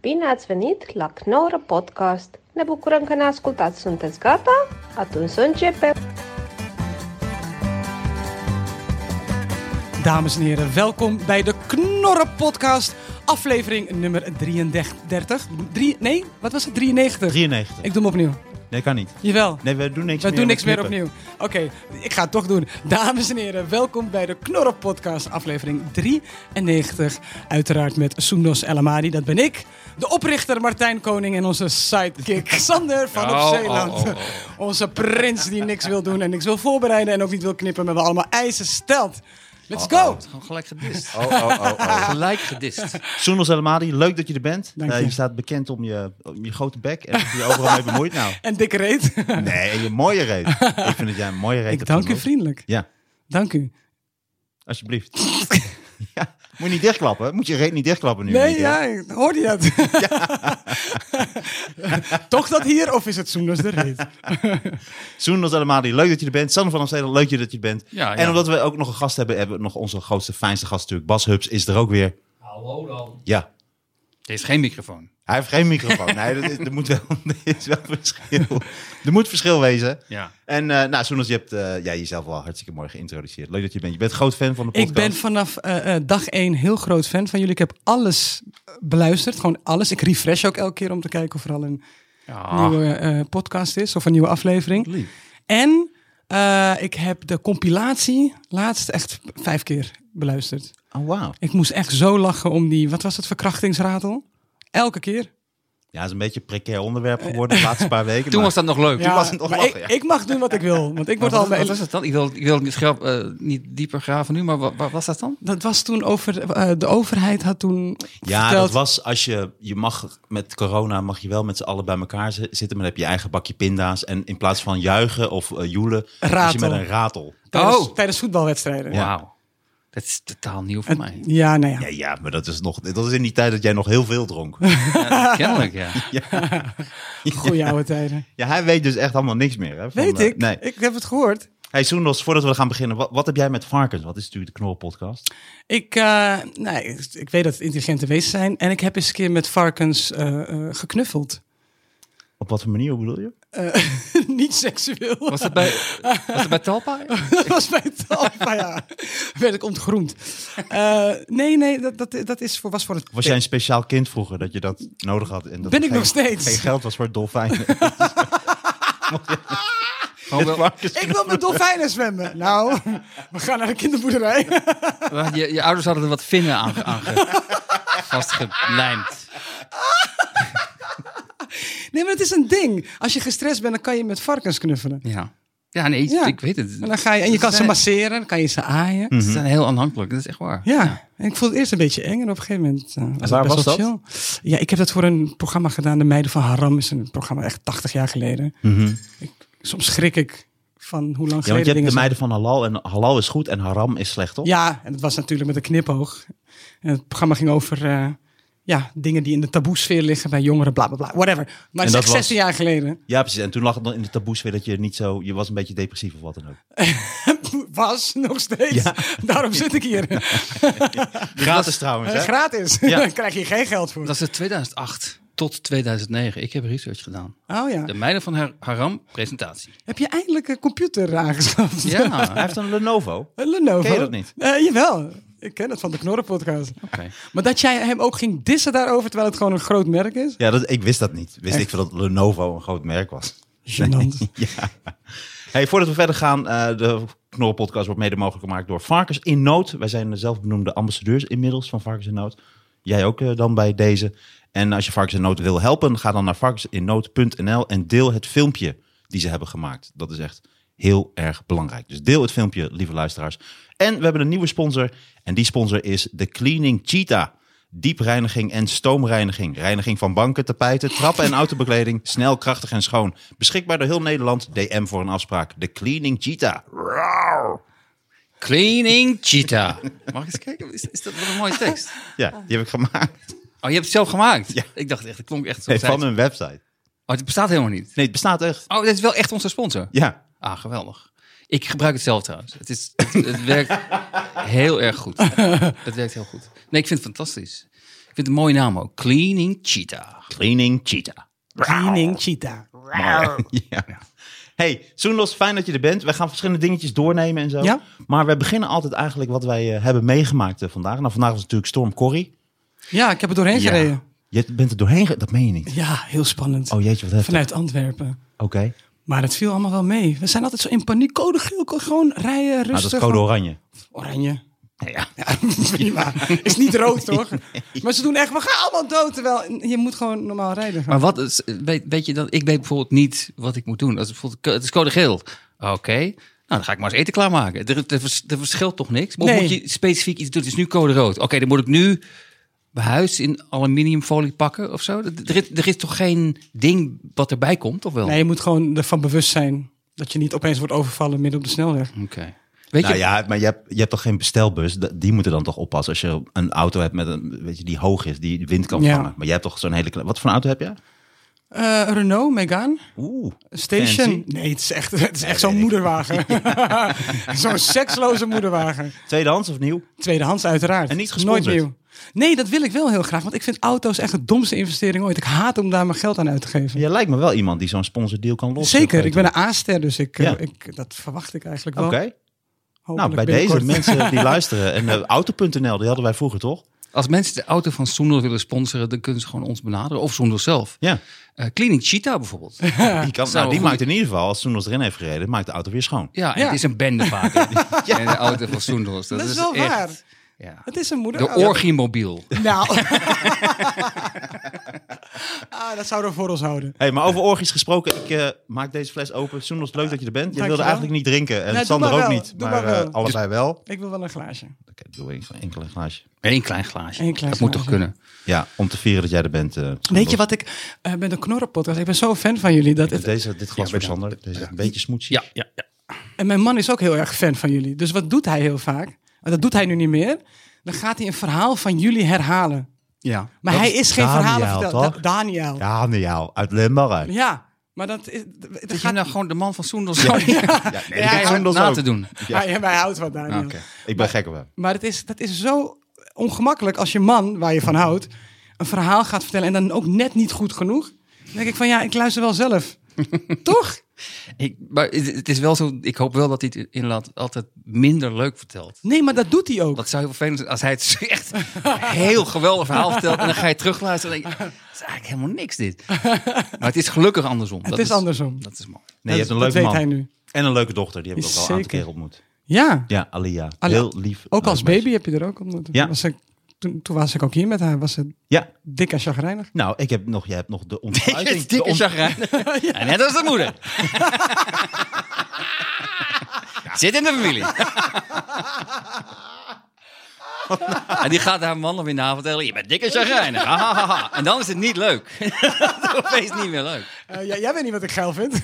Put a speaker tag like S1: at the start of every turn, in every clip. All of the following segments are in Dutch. S1: Bine ați venit la Knorr Podcast! Ne bucurăm că ne ascultați! Sunteți gata? Atunci să începem!
S2: Dames en heren, welkom bij de Knorren Podcast, aflevering nummer 33. Drie, nee, wat was het? 93.
S3: 93.
S2: Ik doe hem opnieuw.
S3: Nee, kan niet.
S2: Jawel.
S3: Nee, we doen niks
S2: We
S3: meer.
S2: doen
S3: om
S2: niks
S3: te
S2: meer
S3: knippen.
S2: opnieuw. Oké, ik ga het toch doen. Dames en heren, welkom bij de Knorren Podcast, aflevering 93. Uiteraard met Soendos El Amadi, dat ben ik. De oprichter Martijn Koning en onze sidekick Sander van
S4: Oh,
S2: op Zeeland.
S4: oh, oh, oh.
S2: Onze prins die niks wil doen en niks wil voorbereiden en ook niet wil knippen, maar we allemaal eisen stelt. Let's go!
S4: Het is gewoon gelijk gedist.
S5: Oh, oh, oh, oh.
S4: Gelijk gedist.
S3: Soenos Elmadi, leuk dat je er bent.
S2: Dank
S3: Eh,
S2: je.
S3: je staat bekend om je, om je grote bek en dat je je overal mee bemoeit. Nou,
S2: En dikke reet.
S3: nee, en je mooie reet. Ik vind dat jij een mooie reet
S2: Ik
S3: hebt,
S2: dank u
S3: Soenos.
S2: vriendelijk.
S3: Ja,
S2: Dank u.
S3: alsjeblieft. ja, moet je niet dichtklappen. hè? Moet je reet niet dichtklappen nu.
S2: Nee,
S3: Mieke, hè?
S2: ja, ik- hoorde je dat? Toch dat hier of is het Soendos de reet?
S3: Soenos Elmadi, leuk dat je er bent. Sander van Amsterdam, leuk dat je er bent.
S4: Ja, ja.
S3: En omdat we ook nog een gast hebben, hebben we nog onze grootste, fijnste gast natuurlijk. Bas Hubs is er ook weer.
S5: Hallo dan.
S3: Ja.
S4: Er is geen microfoon.
S3: Hij heeft geen microfoon. Nee, dat is- er moet wel, er is wel verschil. Er moet verschil wezen.
S4: Ja.
S3: En eh nou, Soenos, je hebt eh, ja, jezelf wel hartstikke mooi geïntroduceerd. Leuk dat je er bent. Je bent groot fan van de podcast.
S2: Ik ben vanaf eh, eh, dag één heel groot fan van jullie. Ik heb alles eh, beluisterd, gewoon alles. Ik refresh ook elke keer om te kijken of er al een
S4: Ja.
S2: nieuwe eh, podcast is of een nieuwe aflevering. En eh, ik heb de compilatie laatst echt vijf keer beluisterd.
S3: Oh, wauw.
S2: Ik moest echt zo lachen om die, wat was het, verkrachtingsratel? Elke keer.
S3: Ja, het is een beetje een precair onderwerp
S2: Eh,
S3: geworden de laatste paar weken.
S4: Toen
S3: maar-
S4: was dat nog leuk.
S3: Ja. was het nog
S2: maar
S3: lachen,
S2: ik,
S3: ja.
S2: ik mag doen wat ik wil, want ik word al...
S4: Wat, wat
S2: bij-
S4: was het dan? Ik wil, ik wil het grap, eh, niet dieper graven nu, maar wat, wat was dat dan?
S2: Dat was toen over... eh, de overheid had toen
S3: Ja,
S2: verteld...
S3: dat was als je, je mag met corona, mag je wel met z'n allen bij elkaar zi- zitten, maar dan heb je je eigen bakje pinda's. En in plaats van juichen of eh, joelen, is je
S2: Ratel.
S3: met een ratel.
S2: tijdens,
S4: Oh.
S2: tijdens voetbalwedstrijden.
S4: Wauw. Dat is totaal nieuw voor
S2: Het-
S4: mij.
S2: ja, nou ja.
S3: Ja, ja, maar dat is nog, dat is in die tijd dat jij nog heel veel dronk.
S4: Ja, kennelijk, ja.
S2: Goeie oude tijden.
S3: ja, hij weet dus echt helemaal niks meer. Hè, van,
S2: Weet
S3: eh,
S2: ik.
S3: Nee.
S2: Ik heb het gehoord.
S3: Hey Soendos, voordat we gaan beginnen, wat, wat heb jij met varkens? Wat is natuurlijk de Knorrelpodcast?
S2: Ik, eh, nee, ik- ik weet dat het intelligente wezens zijn. En ik heb eens een keer met varkens eh, eh, geknuffeld.
S3: Op wat voor manier hoe bedoel je?
S2: Niet seksueel.
S4: Was dat bij, was dat bij Talpa? Oh,
S2: dat was bij het Alfa, ja. Werd ik ontgroend. Eh, nee, nee, dat, dat, dat is voor, was voor het...
S3: Was jij een speciaal kind vroeger dat je dat nodig had? En dat
S2: Ben
S3: er
S2: ik nog steeds?
S3: Geen geld was voor dolfijnen.
S4: Gewoon wel-
S3: Varkens-
S2: Ik wil met dolfijnen zwemmen. Nou, we gaan naar de kinderboerderij.
S4: je, je ouders hadden er wat vinnen aan, aan vastgelijmd.
S2: Nee, maar het is een ding. Als je gestrest bent, dan kan je met varkens knuffelen.
S4: Ja. Ja, nee,
S2: Ja.
S4: ik weet het.
S2: En, dan ga je, en je kan ze
S4: zijn-
S2: masseren, dan kan je ze aaien.
S3: Mm.
S5: Mhm.
S4: Ze zijn heel aanhankelijk, dat is echt waar.
S2: Ja, en ik vond het eerst een beetje eng en op een gegeven moment eh, was
S3: Waar
S2: het best
S3: was
S2: wel chill. Ja, ik heb dat voor een programma gedaan, De Meiden van Haram. is een programma echt 80 jaar geleden. Ik, soms schrik ik van hoe lang
S3: Mhm. Ja,
S2: geleden
S3: want je hebt
S2: dingen
S3: de
S2: zijn.
S3: meiden van halal en halal is goed en haram is slecht, toch?
S2: Ja, en dat was natuurlijk met een knipoog. En het programma ging over eh, ja, dingen die in de taboesfeer liggen bij jongeren, bla bla bla, whatever. Maar
S3: En
S2: het is
S3: dat
S2: echt 16 jaar geleden.
S3: Ja, precies. En toen lag het nog in de taboes weer dat je niet zo... Je was een beetje depressief of wat dan ook.
S2: Was nog steeds.
S3: Ja.
S2: Daarom zit ik hier. Eh,
S3: Gratis trouwens, hè?
S2: Gratis.
S3: Ja.
S2: Daar krijg je geen geld voor.
S4: Dat is 2008 tot 2009. Ik heb research gedaan.
S2: Oh ja.
S4: De meiden van Har- Haram, presentatie.
S2: Heb je eindelijk een computer aangeschaft?
S3: Hij
S4: Ja,
S3: heeft een Lenovo.
S2: Eh, Lenovo.
S3: Ken je dat niet?
S2: Eh, jawel. Ik ken het van de Knorren-podcast.
S4: oké.
S2: Maar dat jij hem ook ging dissen daarover, terwijl het gewoon een groot merk is?
S3: Ja, dat, ik wist dat niet. Wist ik veel dat Lenovo een groot merk was.
S2: Gênant.
S3: Ja. Hey, voordat we verder gaan, eh, de Knorrelpodcast wordt mede mogelijk gemaakt door Varkens in Nood. Wij zijn de zelfbenoemde ambassadeurs inmiddels van Varkens in Nood. Jij ook eh, dan bij deze. En als je Varkens in Nood wil helpen, ga dan naar varkensinnood.nl en deel het filmpje die ze hebben gemaakt. Dat is echt heel erg belangrijk. Dus deel het filmpje, lieve luisteraars. En we hebben een nieuwe sponsor. En die sponsor is de Cleaning Cheetah. Diepreiniging en stoomreiniging. Reiniging van banken, tapijten, trappen en autobekleding. Snel, krachtig en schoon. Beschikbaar door heel Nederland. DM voor een afspraak. De Cleaning Cheetah.
S4: Cleaning Cheetah. Mag ik eens kijken? Is, is dat wat een mooie tekst?
S3: Ja, die heb ik gemaakt.
S4: Oh, je hebt het zelf gemaakt?
S3: Ja.
S4: Ik dacht echt, het klonk echt zo.
S3: Nee,
S4: zijds.
S3: van hun website.
S4: Oh, het bestaat helemaal niet.
S3: Nee, het bestaat echt.
S4: Oh, dit is wel echt onze sponsor.
S3: Ja.
S4: Ah, geweldig. Ik gebruik het zelf trouwens. Het, is, het, het werkt heel erg goed. Het werkt heel goed. Nee, ik vind het fantastisch. vind het een mooie naam ook. Cleaning Cheetah.
S3: Cleaning Cheetah.
S2: Cleaning cheetah.
S3: Maar- ja. Hey, Soendos, fijn dat je er bent. Wij gaan verschillende dingetjes doornemen en zo.
S2: Ja.
S3: Maar we beginnen altijd eigenlijk wat wij eh, hebben meegemaakt eh, vandaag. Nou, vandaag was natuurlijk Storm Corrie.
S2: Ja, ik heb er doorheen gereden.
S3: Je bent er doorheen ge- Dat meen je niet.
S2: Ja, heel spannend.
S3: Oh jeetje, wat heftig.
S2: Vanuit Antwerpen.
S3: Oké. Nou,
S2: Maar het viel allemaal wel mee. We zijn altijd zo in paniek. Code geel, code gewoon rijden,
S3: Nou, dat
S2: rustig.
S3: is code oranje.
S2: Oranje.
S3: Nou ja.
S2: Prima. Is niet rood, toch? Maar ze doen echt, we gaan allemaal dood. Terwijl je moet gewoon normaal rijden.
S4: Maar wat, is- weet, weet je dan, ik weet bijvoorbeeld niet wat ik moet doen. Als het, bijvoorbeeld- het is code geel. Oké, nou dan ga ik maar eens eten klaarmaken. Er, er, vers- er verschilt toch niks? Of
S2: Nee.
S4: moet je specifiek iets doen? Het is nu code rood. Oké, dan moet ik nu mijn huis in aluminiumfolie pakken of zo. Er, er is- er is toch geen ding wat erbij komt, of wel?
S2: Nee, je moet gewoon ervan bewust zijn dat je niet opeens wordt overvallen midden op de snelweg.
S4: Oké. Weet
S3: Nou
S4: je,
S3: ja, maar je hebt, je hebt toch geen bestelbus? Da- Die moeten dan toch oppassen als je een auto hebt met een, weet je, die hoog is, die de wind kan
S2: Ja.
S3: vangen. Maar jij hebt toch zo'n hele kleine... Wat voor een auto heb je?
S2: Eh, Renault, Megane,
S3: Oeh.
S2: Station.
S3: Fancy.
S2: Nee, het is echt, het is echt
S3: weet
S2: zo'n
S3: ik.
S2: moederwagen. zo'n seksloze moederwagen.
S3: Tweedehands of nieuw?
S2: Tweedehands uiteraard.
S3: En niet
S2: Nooit
S3: gesponsord?
S2: nieuw. Nee, dat wil ik wel heel graag. Want ik vind auto's echt de domste investering ooit. Ik haat om daar mijn geld aan uit te geven.
S3: Jij lijkt me wel iemand die zo'n sponsordeal kan lossen.
S2: Zeker, ik ben een A-ster, dus ik, eh,
S3: Ja.
S2: ik, dat verwacht ik eigenlijk
S3: Oké.
S2: wel.
S3: Nou,
S2: Hopelijk
S3: bij deze
S2: binnenkort.
S3: mensen die luisteren. En eh, Auto.nl, die hadden wij vroeger toch?
S4: als mensen de auto van Soendel willen sponsoren, dan kunnen ze gewoon ons benaderen. Of Soendel zelf.
S3: Ja.
S4: Eh, Cleaning Cheetah bijvoorbeeld.
S3: Die, kan,
S4: zou
S3: nou, die
S4: goed.
S3: maakt in ieder geval, als Soenos erin heeft gereden, maakt de auto weer schoon.
S4: Ja, en
S2: Ja.
S4: het is een bende vaak. En de auto van Soendel. Dat,
S2: Dat is
S4: is
S2: wel
S4: echt-
S2: waar.
S4: Ja.
S2: Het is een moeder. Oh,
S4: De orgiemobiel.
S2: Nou. ah, dat zouden we voor ons houden.
S3: Hey, maar over orgies gesproken, ik eh, maak deze fles open. Soenos, leuk dat je er bent. Je wilde
S2: Dankjewel.
S3: eigenlijk niet drinken en
S2: Nee, doe
S3: Sander
S2: maar
S3: ook
S2: wel.
S3: niet.
S2: Doe
S3: maar
S2: maar wel.
S3: eh, allebei wel. Oké,
S2: Ik wil wel een glaasje.
S3: doe enkel, enkel een glaasje.
S4: Eén klein glaasje.
S2: Eén klein
S4: dat moet toch
S2: glaasje.
S4: kunnen?
S3: Ja, om te vieren dat jij er bent. eh,
S2: Weet je
S3: Soendos.
S2: wat ik eh met de knorrenpodcast... Ik ben zo fan van jullie. Dat het-
S3: Deze, dit glas voor Sander. Deze is een beetje smoetsig.
S4: Ja, ja, ja.
S2: en mijn man is ook heel erg fan van jullie. Dus wat doet hij heel vaak? En Dat doet hij nu niet meer. Dan gaat hij een verhaal van jullie herhalen.
S4: ja.
S2: Maar
S3: Dat
S2: hij
S3: is
S2: is geen
S3: Daniel,
S2: verhalen verteld.
S3: toch?
S2: Da- Daniel. Ja.
S3: Ja, nou ja, uit Limburg.
S2: maar dat is... dat- dat
S4: Is
S2: gaat-
S4: nou gewoon de man van Soendel zo ja.
S3: Ja, nee,
S2: Ja,
S3: dat
S2: ja.
S3: is Soendos
S4: na
S3: ook.
S4: te doen?
S3: Ja.
S2: Hij, hij houdt van Daniel.
S4: Oké.
S3: Ik ben gek op hem.
S2: Maar het is, dat is zo ongemakkelijk als je man, waar je van houdt, een verhaal gaat vertellen en dan ook net niet goed genoeg. Dan denk ik van ja, ik luister wel zelf. Toch?
S4: Ik, maar het het is wel zo, ik hoop wel dat hij het inderdaad altijd minder leuk vertelt.
S2: Nee, maar dat doet hij ook.
S4: Wat zou heel vervelend zijn als hij het echt heel geweldig verhaal vertelt en dan ga je terugluisteren en denk je, "Ah, dat is eigenlijk helemaal niks dit. Maar het is gelukkig andersom.
S2: het is, andersom.
S4: Dat is mooi.
S3: Nee, je
S2: Dat-
S3: hebt een
S2: dat
S3: leuke
S2: weet
S3: man.
S2: hij nu.
S3: En een leuke dochter, die heb ik ook al een aantal
S2: Zeker.
S3: keer ontmoet.
S2: Ja,
S3: Ja, Alia.
S2: Alia.
S3: Heel lief.
S2: ook als
S3: leuk meisje.
S2: baby heb je er ook ontmoet.
S3: Ja.
S2: Was ik, toen, toen was ik ook hier met haar, was ze
S3: Ja.
S2: dik en chagrijnig.
S3: Nou, ik heb nog, jij hebt nog de
S4: Het
S3: ontsluiting.
S4: is
S3: De
S4: dikke
S3: ont-
S4: chagrijn. En Net als de moeder. Zit in de familie. En die gaat haar man nog in de avond vertellen: Je bent dikke chagrijnig. Ha, ha, ha, ha. En dan is het niet leuk. Dat is niet meer leuk.
S2: Eh, ja, jij weet niet wat ik geil vind.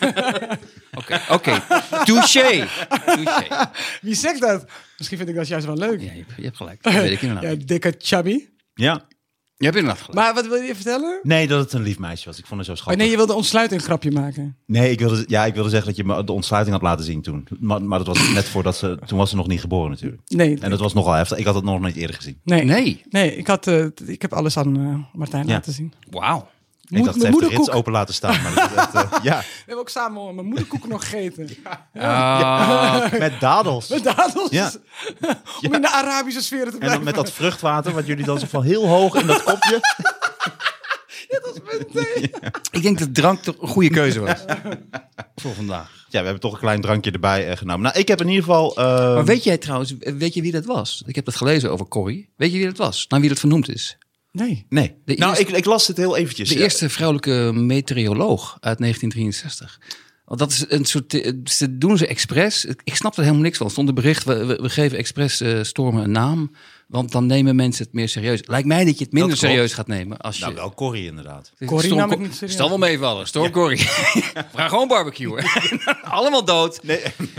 S4: Oké, oké. touché. Touché.
S2: Wie zegt dat? Misschien vind ik dat juist wel leuk.
S4: Ja, je, hebt- je hebt gelijk. Dat weet ik inderdaad.
S2: Ja, dikke chubby.
S3: Ja.
S4: Je hebt inderdaad gelijk.
S2: Maar wat wil je vertellen?
S3: Nee, dat het een lief meisje was. Ik vond haar zo
S2: Oh,
S3: schattig.
S2: nee, je wilde ontsluiting grapje maken.
S3: Nee, ik wilde, ja, ik wilde zeggen dat je me de ontsluiting had laten zien toen. Maar, maar dat was net voordat ze... Toen was ze nog niet geboren natuurlijk.
S2: Nee,
S3: En dat was nogal heftig. Ik had het nog nooit eerder gezien.
S2: nee.
S4: Nee.
S2: Nee, ik, had, eh, t- ik heb alles aan eh, Martijn
S3: Ja.
S2: laten zien.
S4: Wauw.
S2: Moet-
S3: ik dacht, ze
S2: mijn
S3: heeft de
S2: moederkoek.
S3: rits open laten staan. Maar dat is echt, eh, ja,
S2: We hebben ook samen mijn moederkoek nog gegeten.
S4: Ah,
S3: met dadels.
S2: Met dadels.
S3: Ja.
S2: Om in de Arabische sfeer te
S3: En dan
S2: blijven.
S3: met dat vruchtwater, wat jullie dan zo van heel hoog in dat kopje.
S4: ik denk dat drank toch een goede keuze was. Voor vandaag.
S3: Ja, we hebben toch een klein drankje erbij eh, genomen. Nou, ik heb in ieder geval... eh,
S4: Maar weet jij trouwens, weet je wie dat was? Ik heb dat gelezen over Corrie. Weet je wie dat was? Naar Nou, wie dat vernoemd is? eh,
S2: Nee.
S3: Nee.
S4: De
S3: nou,
S4: eerste-
S3: ik, ik las het heel eventjes.
S4: De
S3: Ja.
S4: eerste vrouwelijke meteoroloog uit 1963. Want dat is een soort. eh, Ze doen ze expres. Ik ik snap er helemaal niks van. Er Stond een bericht. We, we, we geven expres eh, stormen een naam. Want dan nemen mensen het meer serieus. Lijkt mij dat je het minder
S3: Dat klopt.
S4: serieus gaat nemen. Als je.
S3: Nou, wel Corrie inderdaad.
S2: Corrie
S4: Storm
S2: nam
S4: Co-
S2: ik niet serieus.
S4: Stel wel meevallen. Storm Corrie. Vraag gewoon barbecue. Allemaal dood.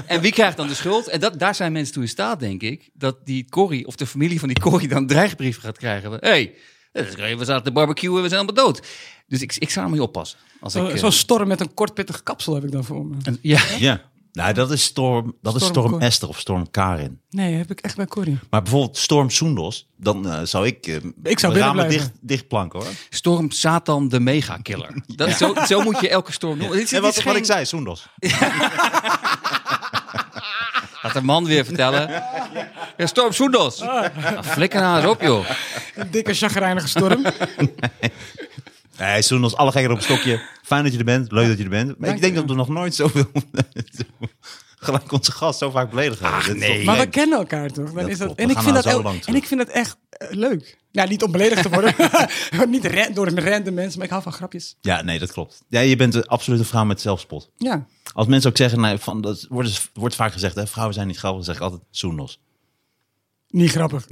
S4: En wie krijgt dan de schuld? En dat, daar zijn mensen toe in staat, denk ik. Dat die Corrie of de familie van die Corrie dan dreigbrieven gaat krijgen. Hé, hey, dat is- we zaten te barbecuen en we zijn allemaal dood. Dus ik, ik zou ermee oppassen. Als ik,
S2: Zo-
S4: eh,
S2: Zo'n storm met een kortpittig kapsel heb ik dan voor me.
S4: een- ja,
S3: Ja. Nou, dat is Storm, dat is
S2: Storm
S3: storm
S2: Cor-
S3: Esther of Storm Karin.
S2: Nee, heb ik echt bij Corrie.
S3: Maar bijvoorbeeld Storm Soendos, dan eh, zou ik, eh,
S2: willen
S3: de ramen
S2: blijven.
S3: dicht, dicht planken hoor.
S4: Storm Satan de megakiller. Dat, zo, zo moet je elke storm noemen. Dit is-
S3: En
S4: dit
S3: wat,
S4: is
S3: wat
S4: geen-
S3: ik zei, Soendos.
S4: Laat de man weer vertellen. Ja, Storm Soendos.
S2: Ah.
S4: Nou, flikker nou eens op, joh.
S2: Een dikke chagrijnige storm.
S3: Nee, Soendos, alle gekken op een stokje. Fijn dat je er bent, leuk dat je er bent. Maar ik denk dat we nog nooit zoveel... gelijk onze gast zo vaak beledigd hebben. Dit is toch
S4: nee.
S2: Maar we
S3: vreemd.
S2: kennen elkaar toch? Dan
S3: Dat
S2: is dat,
S3: klopt,
S2: en,
S3: we
S2: ik
S3: gaan
S2: vind
S3: al
S2: dat
S3: zo
S2: ook-
S3: lang
S2: en
S3: terug.
S2: ik vind dat echt eh, leuk. Nou, niet om beledigd te worden. niet ra- door een random mens, maar ik hou van grapjes.
S3: Ja, nee, dat klopt. Ja, je bent een absolute vrouw met zelfspot.
S2: Ja.
S3: Als mensen ook zeggen, nou, van, dat wordt, wordt vaak gezegd, hè, vrouwen zijn niet grappig, dan zeg ik altijd Soendos.
S2: Niet grappig.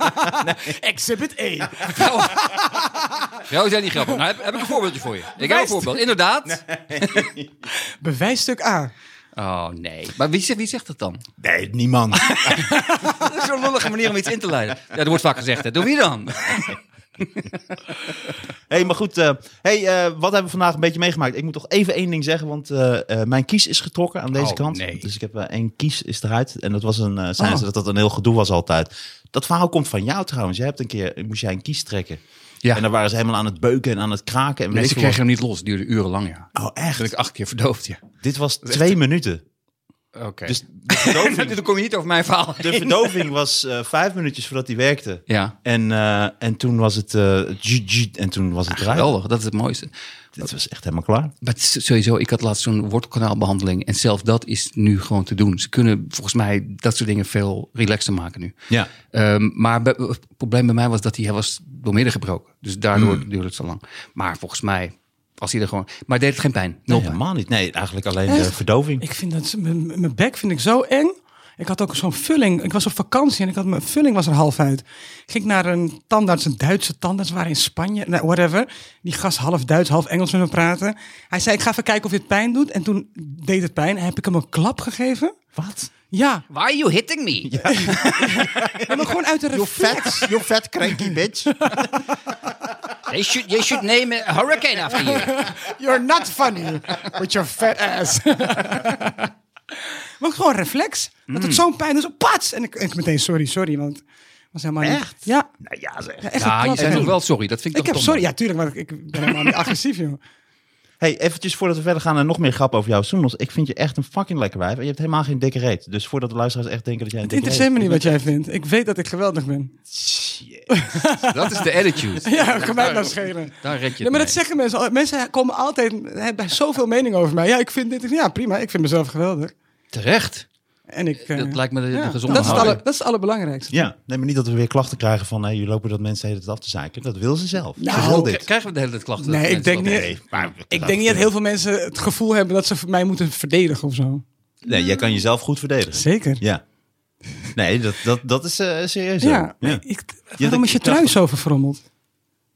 S2: Exhibit A.
S4: Vrouwen, vrouwen zijn niet grappig. Nou, heb, heb ik een voorbeeldje voor je. Ik heb een voorbeeld, inderdaad.
S2: Bewijsstuk A.
S4: Oh, nee. Maar wie, zegt- wie zegt dat dan?
S3: Nee, niemand.
S4: Dat is zo'n lullige manier om iets in te leiden. Ja, dat wordt vaak gezegd, hè. Door wie dan?
S3: hey, maar goed. eh, hey, eh, wat hebben we vandaag een beetje meegemaakt? Ik moet toch even één ding zeggen, want eh, eh, mijn kies is getrokken aan deze
S4: Oh,
S3: kant.
S4: nee.
S3: Dus ik heb eh, één kies is eruit. En dat was een, eh
S4: Oh.
S3: zeiden ze dat dat een heel gedoe was altijd. Dat verhaal komt van jou trouwens. Jij hebt een keer, moest jij een kies trekken.
S4: Ja.
S3: En dan waren ze helemaal aan het beuken en aan het kraken. En weet
S4: Mensen
S3: ik wat.
S4: kregen hem niet los. Het duurde urenlang, ja.
S3: Oh, echt?
S4: Ben ik acht keer verdoofd, ja.
S3: Dit was twee minuten.
S4: Oké.
S3: Dus de verdoving,
S4: dan kom je niet over mijn verhaal
S3: de verdoving was eh, vijf minuutjes voordat hij werkte.
S4: Ja.
S3: En, eh, en toen was het... eh, jiet, jiet, en toen was het eruit.
S4: Ah, Geweldig, dat is het mooiste.
S3: Dit was echt helemaal klaar.
S4: Maar het is sowieso, ik had laatst zo'n wortelkanaalbehandeling. En zelfs dat is nu gewoon te doen. Ze kunnen volgens mij dat soort dingen veel relaxter maken nu.
S3: Ja.
S4: Ehm, maar bij- het probleem bij mij was dat hij, hij was doormidden gebroken. Dus daardoor
S2: Hmm.
S4: duurde het zo lang. Maar volgens mij, als hij er gewoon... Maar deed het geen pijn. Nul
S3: Nee,
S4: pijn.
S3: helemaal niet. Nee, eigenlijk alleen de
S2: Eh,
S3: verdoving.
S2: Ik vind dat ze- mijn mijn bek vind ik zo eng. Ik had ook zo'n vulling. Ik was op vakantie en ik had mijn vulling was er half uit. Ik ging naar een tandarts, een Duitse tandarts, we waren in Spanje, nou, whatever. Die gast half Duits, half Engels met me praten. Hij zei: "Ik ga even kijken of dit pijn doet." En toen deed het pijn. Heb ik hem een klap gegeven?
S3: Wat?
S2: Ja,
S4: Why are you hitting me?
S2: maar gewoon uit de reflex.
S3: you fat cranky bitch.
S4: They should, you should name a hurricane after you.
S2: You're not funny with your fat ass. maar gewoon reflex. Dat het zo'n pijn doet. Zo pats! En ik, ik meteen sorry, sorry. Want het was helemaal niet-
S3: Echt?
S2: Ja.
S3: Nou ja, zeg.
S2: Ja, echt een
S4: Ja, je
S2: klap.
S4: zei toch wel sorry. Dat vind ik,
S2: Ik
S4: toch
S2: heb
S4: dom.
S2: sorry, ja tuurlijk, maar ik ben helemaal niet agressief, joh.
S3: Hey, eventjes voordat we verder gaan en nog meer grap over jou, Soenos. Ik vind je echt een fucking lekker wijf. En je hebt helemaal geen dikke reet. Dus voordat de luisteraars echt denken dat jij een
S2: Het
S3: dikke
S2: interesseert me
S3: reet
S2: niet wat jij vindt. Ik weet dat ik geweldig ben.
S4: Dat is de attitude.
S2: Ja, kan mij nou schelen.
S4: Daar red
S2: Nee,
S4: je
S2: maar
S4: het
S2: dat
S4: mee.
S2: zeggen mensen. al- Mensen komen altijd hebben zoveel mening over mij. Ja, ik vind dit. Ja, prima. Ik vind mezelf geweldig.
S4: Terecht.
S2: En ik. eh,
S4: Dat lijkt me de, de
S2: ja,
S4: gezonde
S2: dat is, het
S4: houding.
S2: alle- dat is het allerbelangrijkste.
S3: Ja, nee, maar niet dat we weer klachten krijgen van... hé, jullie lopen dat mensen de hele tijd af te zeiken. Dat wil ze zelf.
S2: Nou,
S3: ze wil
S4: K-
S3: dit.
S4: Krijgen we de hele tijd klachten?
S2: Nee,
S4: dat
S2: ik
S4: mensen
S2: denk
S4: dat
S2: niet.
S4: denken?
S3: maar,
S2: Ik denk niet dat heel veel mensen het gevoel hebben dat ze mij moeten verdedigen of zo.
S3: Nee, jij kan jezelf goed verdedigen.
S2: Zeker.
S3: Ja. Nee, dat, dat, dat is eh, serieus. zo.
S2: Ja.
S3: Ja.
S2: Ik,
S3: dat
S2: waarom is je
S3: ik dacht-
S2: trui zo verfrommeld?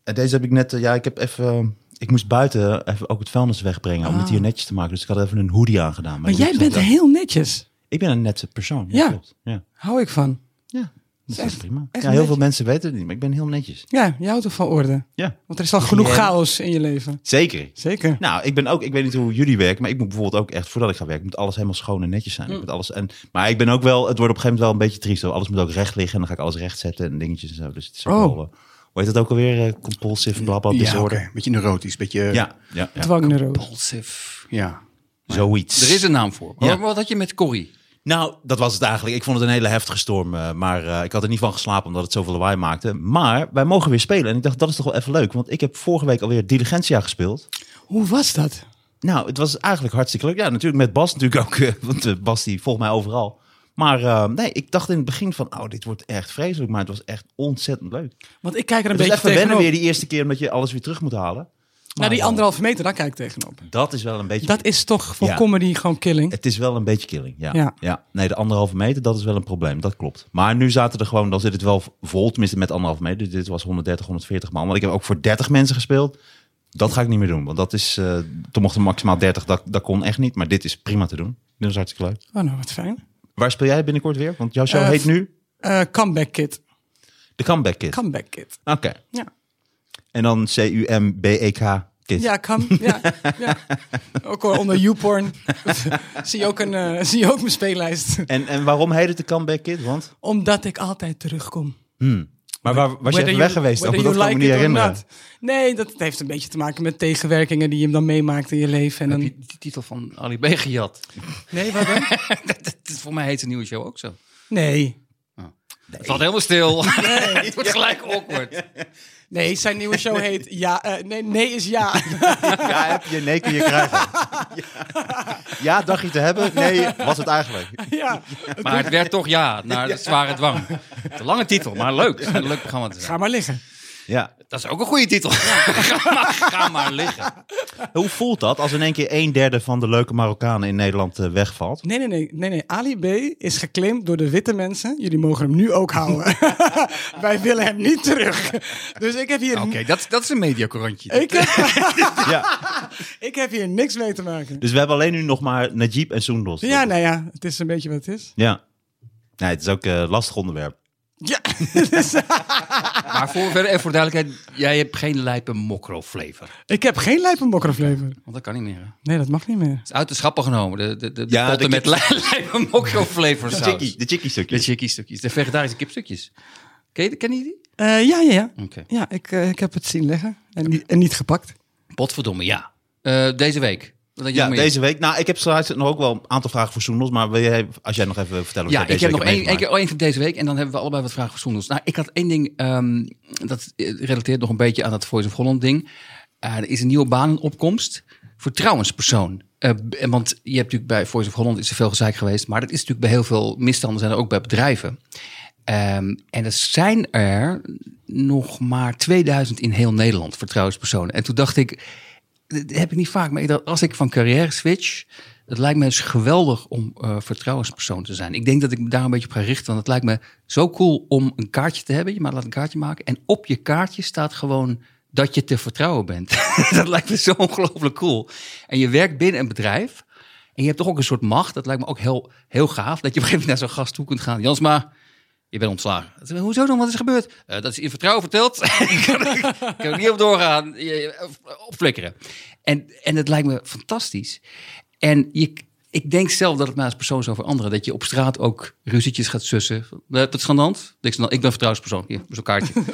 S3: En deze heb ik net... eh, ja, ik heb even... eh, ik moest buiten even ook het vuilnis wegbrengen om het hier netjes te maken. Dus ik had even een hoodie aangedaan.
S2: Ah. Maar
S3: ik
S2: jij
S3: doe
S2: bent
S3: het-
S2: heel netjes.
S3: Ik ben een nette persoon. Ja.
S2: Ja.
S3: klopt. ja.
S2: Hou ik van.
S3: Ja, dat is
S2: echt-
S3: echt prima.
S2: echt
S3: ja, heel
S2: netjes.
S3: veel mensen weten het niet, maar ik ben heel netjes.
S2: Ja, je houdt er van orde.
S3: Ja,
S2: Want er is al genoeg
S3: Jij-
S2: chaos in je leven.
S3: zeker.
S2: Zeker.
S3: Nou, ik ben ook, ik weet niet hoe jullie werken, maar ik moet bijvoorbeeld ook echt, voordat ik ga werken, moet alles helemaal schoon en netjes zijn. Ik
S2: Mm.
S3: moet alles, en, maar ik ben ook wel, het wordt op een gegeven moment wel een beetje triest. hoor. Alles moet ook recht liggen en dan ga ik alles recht zetten en dingetjes en zo. Dus het is ook
S2: Oh.
S3: wel, eh, hoe heet dat ook alweer? eh, compulsive blabla disorder.
S5: oké. Beetje neurotisch, beetje...
S3: Ja, ja, ja.
S2: Dwangneurose.
S4: Impulsive. Ja.
S3: zoiets.
S4: Er is een naam voor.
S3: Ja.
S4: Wat had je met Corrie?
S3: Nou, dat was het eigenlijk. Ik vond het een hele heftige storm. eh, maar eh, ik had er niet van geslapen omdat het zoveel lawaai maakte. Maar wij mogen weer spelen. En ik dacht, dat is toch wel even leuk. Want ik heb vorige week alweer Diligentia gespeeld.
S2: Hoe was dat?
S3: Nou, het was eigenlijk hartstikke leuk. Ja, natuurlijk met Bas natuurlijk ook. eh, want eh, Bas die volgt mij overal. Maar eh, nee, ik dacht in het begin van, oh, dit wordt echt vreselijk. Maar het was echt ontzettend leuk.
S2: Want ik kijk er een
S3: Dus
S2: beetje
S3: even wennen
S2: tegenop.
S3: weer die eerste keer omdat je alles weer terug moet halen.
S2: Naar die
S3: dan-
S2: anderhalve meter, daar kijk ik tegenop.
S3: Dat is wel een beetje...
S2: Dat is toch voor
S3: Ja.
S2: comedy gewoon killing.
S3: Het is wel een beetje killing, ja.
S2: Ja.
S3: ja. Nee, de anderhalve meter, dat is wel een probleem. Dat klopt. Maar nu zaten er gewoon, dan zit het wel vol. Tenminste, met anderhalve meter. Dit was 130, 140 man. Want ik heb ook voor 30 mensen gespeeld. Dat ga ik niet meer doen. Want dat is, eh, toen mochten maximaal 30. Dat, dat kon echt niet. Maar dit is prima te doen. Dit is hartstikke leuk.
S2: Oh, nou, wat fijn.
S3: Waar speel jij binnenkort weer? Want jouw show
S2: Eh,
S3: heet nu
S2: Eh, comeback kid.
S3: de Comeback Kid.
S2: Comeback kid.
S3: Oké.
S2: Ja.
S3: E En dan C-U-M-B-E-K Kids.
S2: Ja, kam. Ja, ja. Ook al onder YouPorn zie je ook, een, eh, zie je ook mijn speellijst.
S3: En, en waarom heet het de Comeback Kid? Want,
S2: Omdat ik altijd terugkom.
S3: maar waar, was je even
S2: Whether
S3: weg
S2: you-
S3: geweest?
S2: whether
S3: Dan, want dat
S2: you
S3: kan ik me niet
S2: like it or
S3: herinneren.
S2: not. Nee, dat heeft een beetje te maken met tegenwerkingen die je dan meemaakt in je leven. En
S4: Heb
S2: dan...
S4: je die titel van Ali B gejat?
S2: Nee, wat dan?
S4: dat, dat- dat- voor mij heet de nieuwe show ook zo.
S2: Nee.
S4: Het valt helemaal stil. het wordt gelijk awkward.
S2: Nee, zijn nieuwe show heet Ja. eh, nee, nee is ja.
S3: Ja, heb je, nee kun je krijgen. Ja, ja dacht je te hebben? Nee, was het eigenlijk.
S2: ja.
S4: Maar het werd toch ja, naar de zware dwang. Het is Een lange titel, maar leuk. Het is Een leuk programma te zijn.
S2: Ga maar liggen.
S3: Ja.
S4: Dat is ook een goede titel. ga, maar, ga maar liggen.
S3: Hoe voelt dat als in één keer een derde van de leuke Marokkanen in Nederland eh, wegvalt?
S2: Nee, nee, nee, nee, nee. Ali B is geclaimd door de witte mensen. Jullie mogen hem nu ook houden. Wij willen hem niet terug. Dus ik heb hier,
S4: Oké, dat, dat is een mediacorantje.
S2: ik heb,
S3: Ja.
S2: ik heb hier niks mee te maken.
S3: Dus we hebben alleen nu nog maar Najib en Soendos.
S2: Ja, nou ja, het is een beetje wat het is.
S3: Ja. Nee, het is ook een lastig onderwerp.
S2: Ja, dus,
S4: Maar voor, verder, en voor duidelijkheid, jij hebt geen lijpe mokro flavor.
S2: ik heb geen lijpenmokkerflever.
S4: Want dat kan niet meer. hè? Het
S2: Nee, dat mag niet meer.
S4: is uit de schappen genomen. De, de, de, de
S3: Ja,
S4: potten
S3: de
S4: met li- lijpe mokro flavor
S3: De
S4: saus.
S3: chickie, de chickie
S4: De
S3: stukjes.
S4: chickie stukjes. De vegetarische kipstukjes. Ken je, ken je die?
S2: Eh, ja, ja, ja.
S4: Oké.
S2: Ja, ik, eh, ik heb het zien leggen en, niet- en niet gepakt.
S4: Potverdomme, ja. Eh, deze week. Wat denk je
S3: Ja,
S4: nog meer?
S3: deze week. Nou, ik heb straks nog ook wel een aantal vragen voor Soendos. Maar wil jij, als jij nog even vertellen
S4: Ja,
S3: wat jij
S4: ik
S3: deze
S4: heb nog
S3: week
S4: één, één, keer- oh, één van deze week en dan hebben we allebei wat vragen voor zondags. Nou, ik had één ding, ehm, dat eh, relateert nog een beetje aan dat Voice of Holland ding. Eh, er is een nieuwe baan in opkomst voor trouwenspersoon. Eh, b- en want je hebt natuurlijk bij Voice of Holland is er veel gezeik geweest, maar dat is natuurlijk bij heel veel misstanden zijn er ook bij bedrijven. Ehm, en er zijn er nog maar 2000 in heel Nederland voor trouwenspersonen. En toen dacht ik, dat heb ik niet vaak, maar ik dacht, als ik van carrière switch, het lijkt me dus geweldig om eh, vertrouwenspersoon te zijn. Ik denk dat ik me daar een beetje op ga richten, want het lijkt me zo cool om een kaartje te hebben. Je maar laat een kaartje maken en op je kaartje staat gewoon dat je te vertrouwen bent. dat lijkt me zo ongelooflijk cool. En je werkt binnen een bedrijf en je hebt toch ook een soort macht. Dat lijkt me ook heel, heel gaaf, dat je op een gegeven moment naar zo'n gast toe kunt gaan. Jans, maar je bent ontslagen. Ik zeg, Hoezo dan? Wat is er gebeurd? "Eh, dat is in vertrouwen verteld. ik kan er- ik kan er niet op doorgaan. Je- je- op- Opflikkeren. En, en het lijkt me fantastisch. En je, ik denk zelf dat het mij als persoon zou veranderen. Dat je op straat ook ruzietjes gaat sussen. Eh, Dat is schandant. Niks aan de hand. Ik ben vertrouwenspersoon. Hier, zo'n kaartje. Het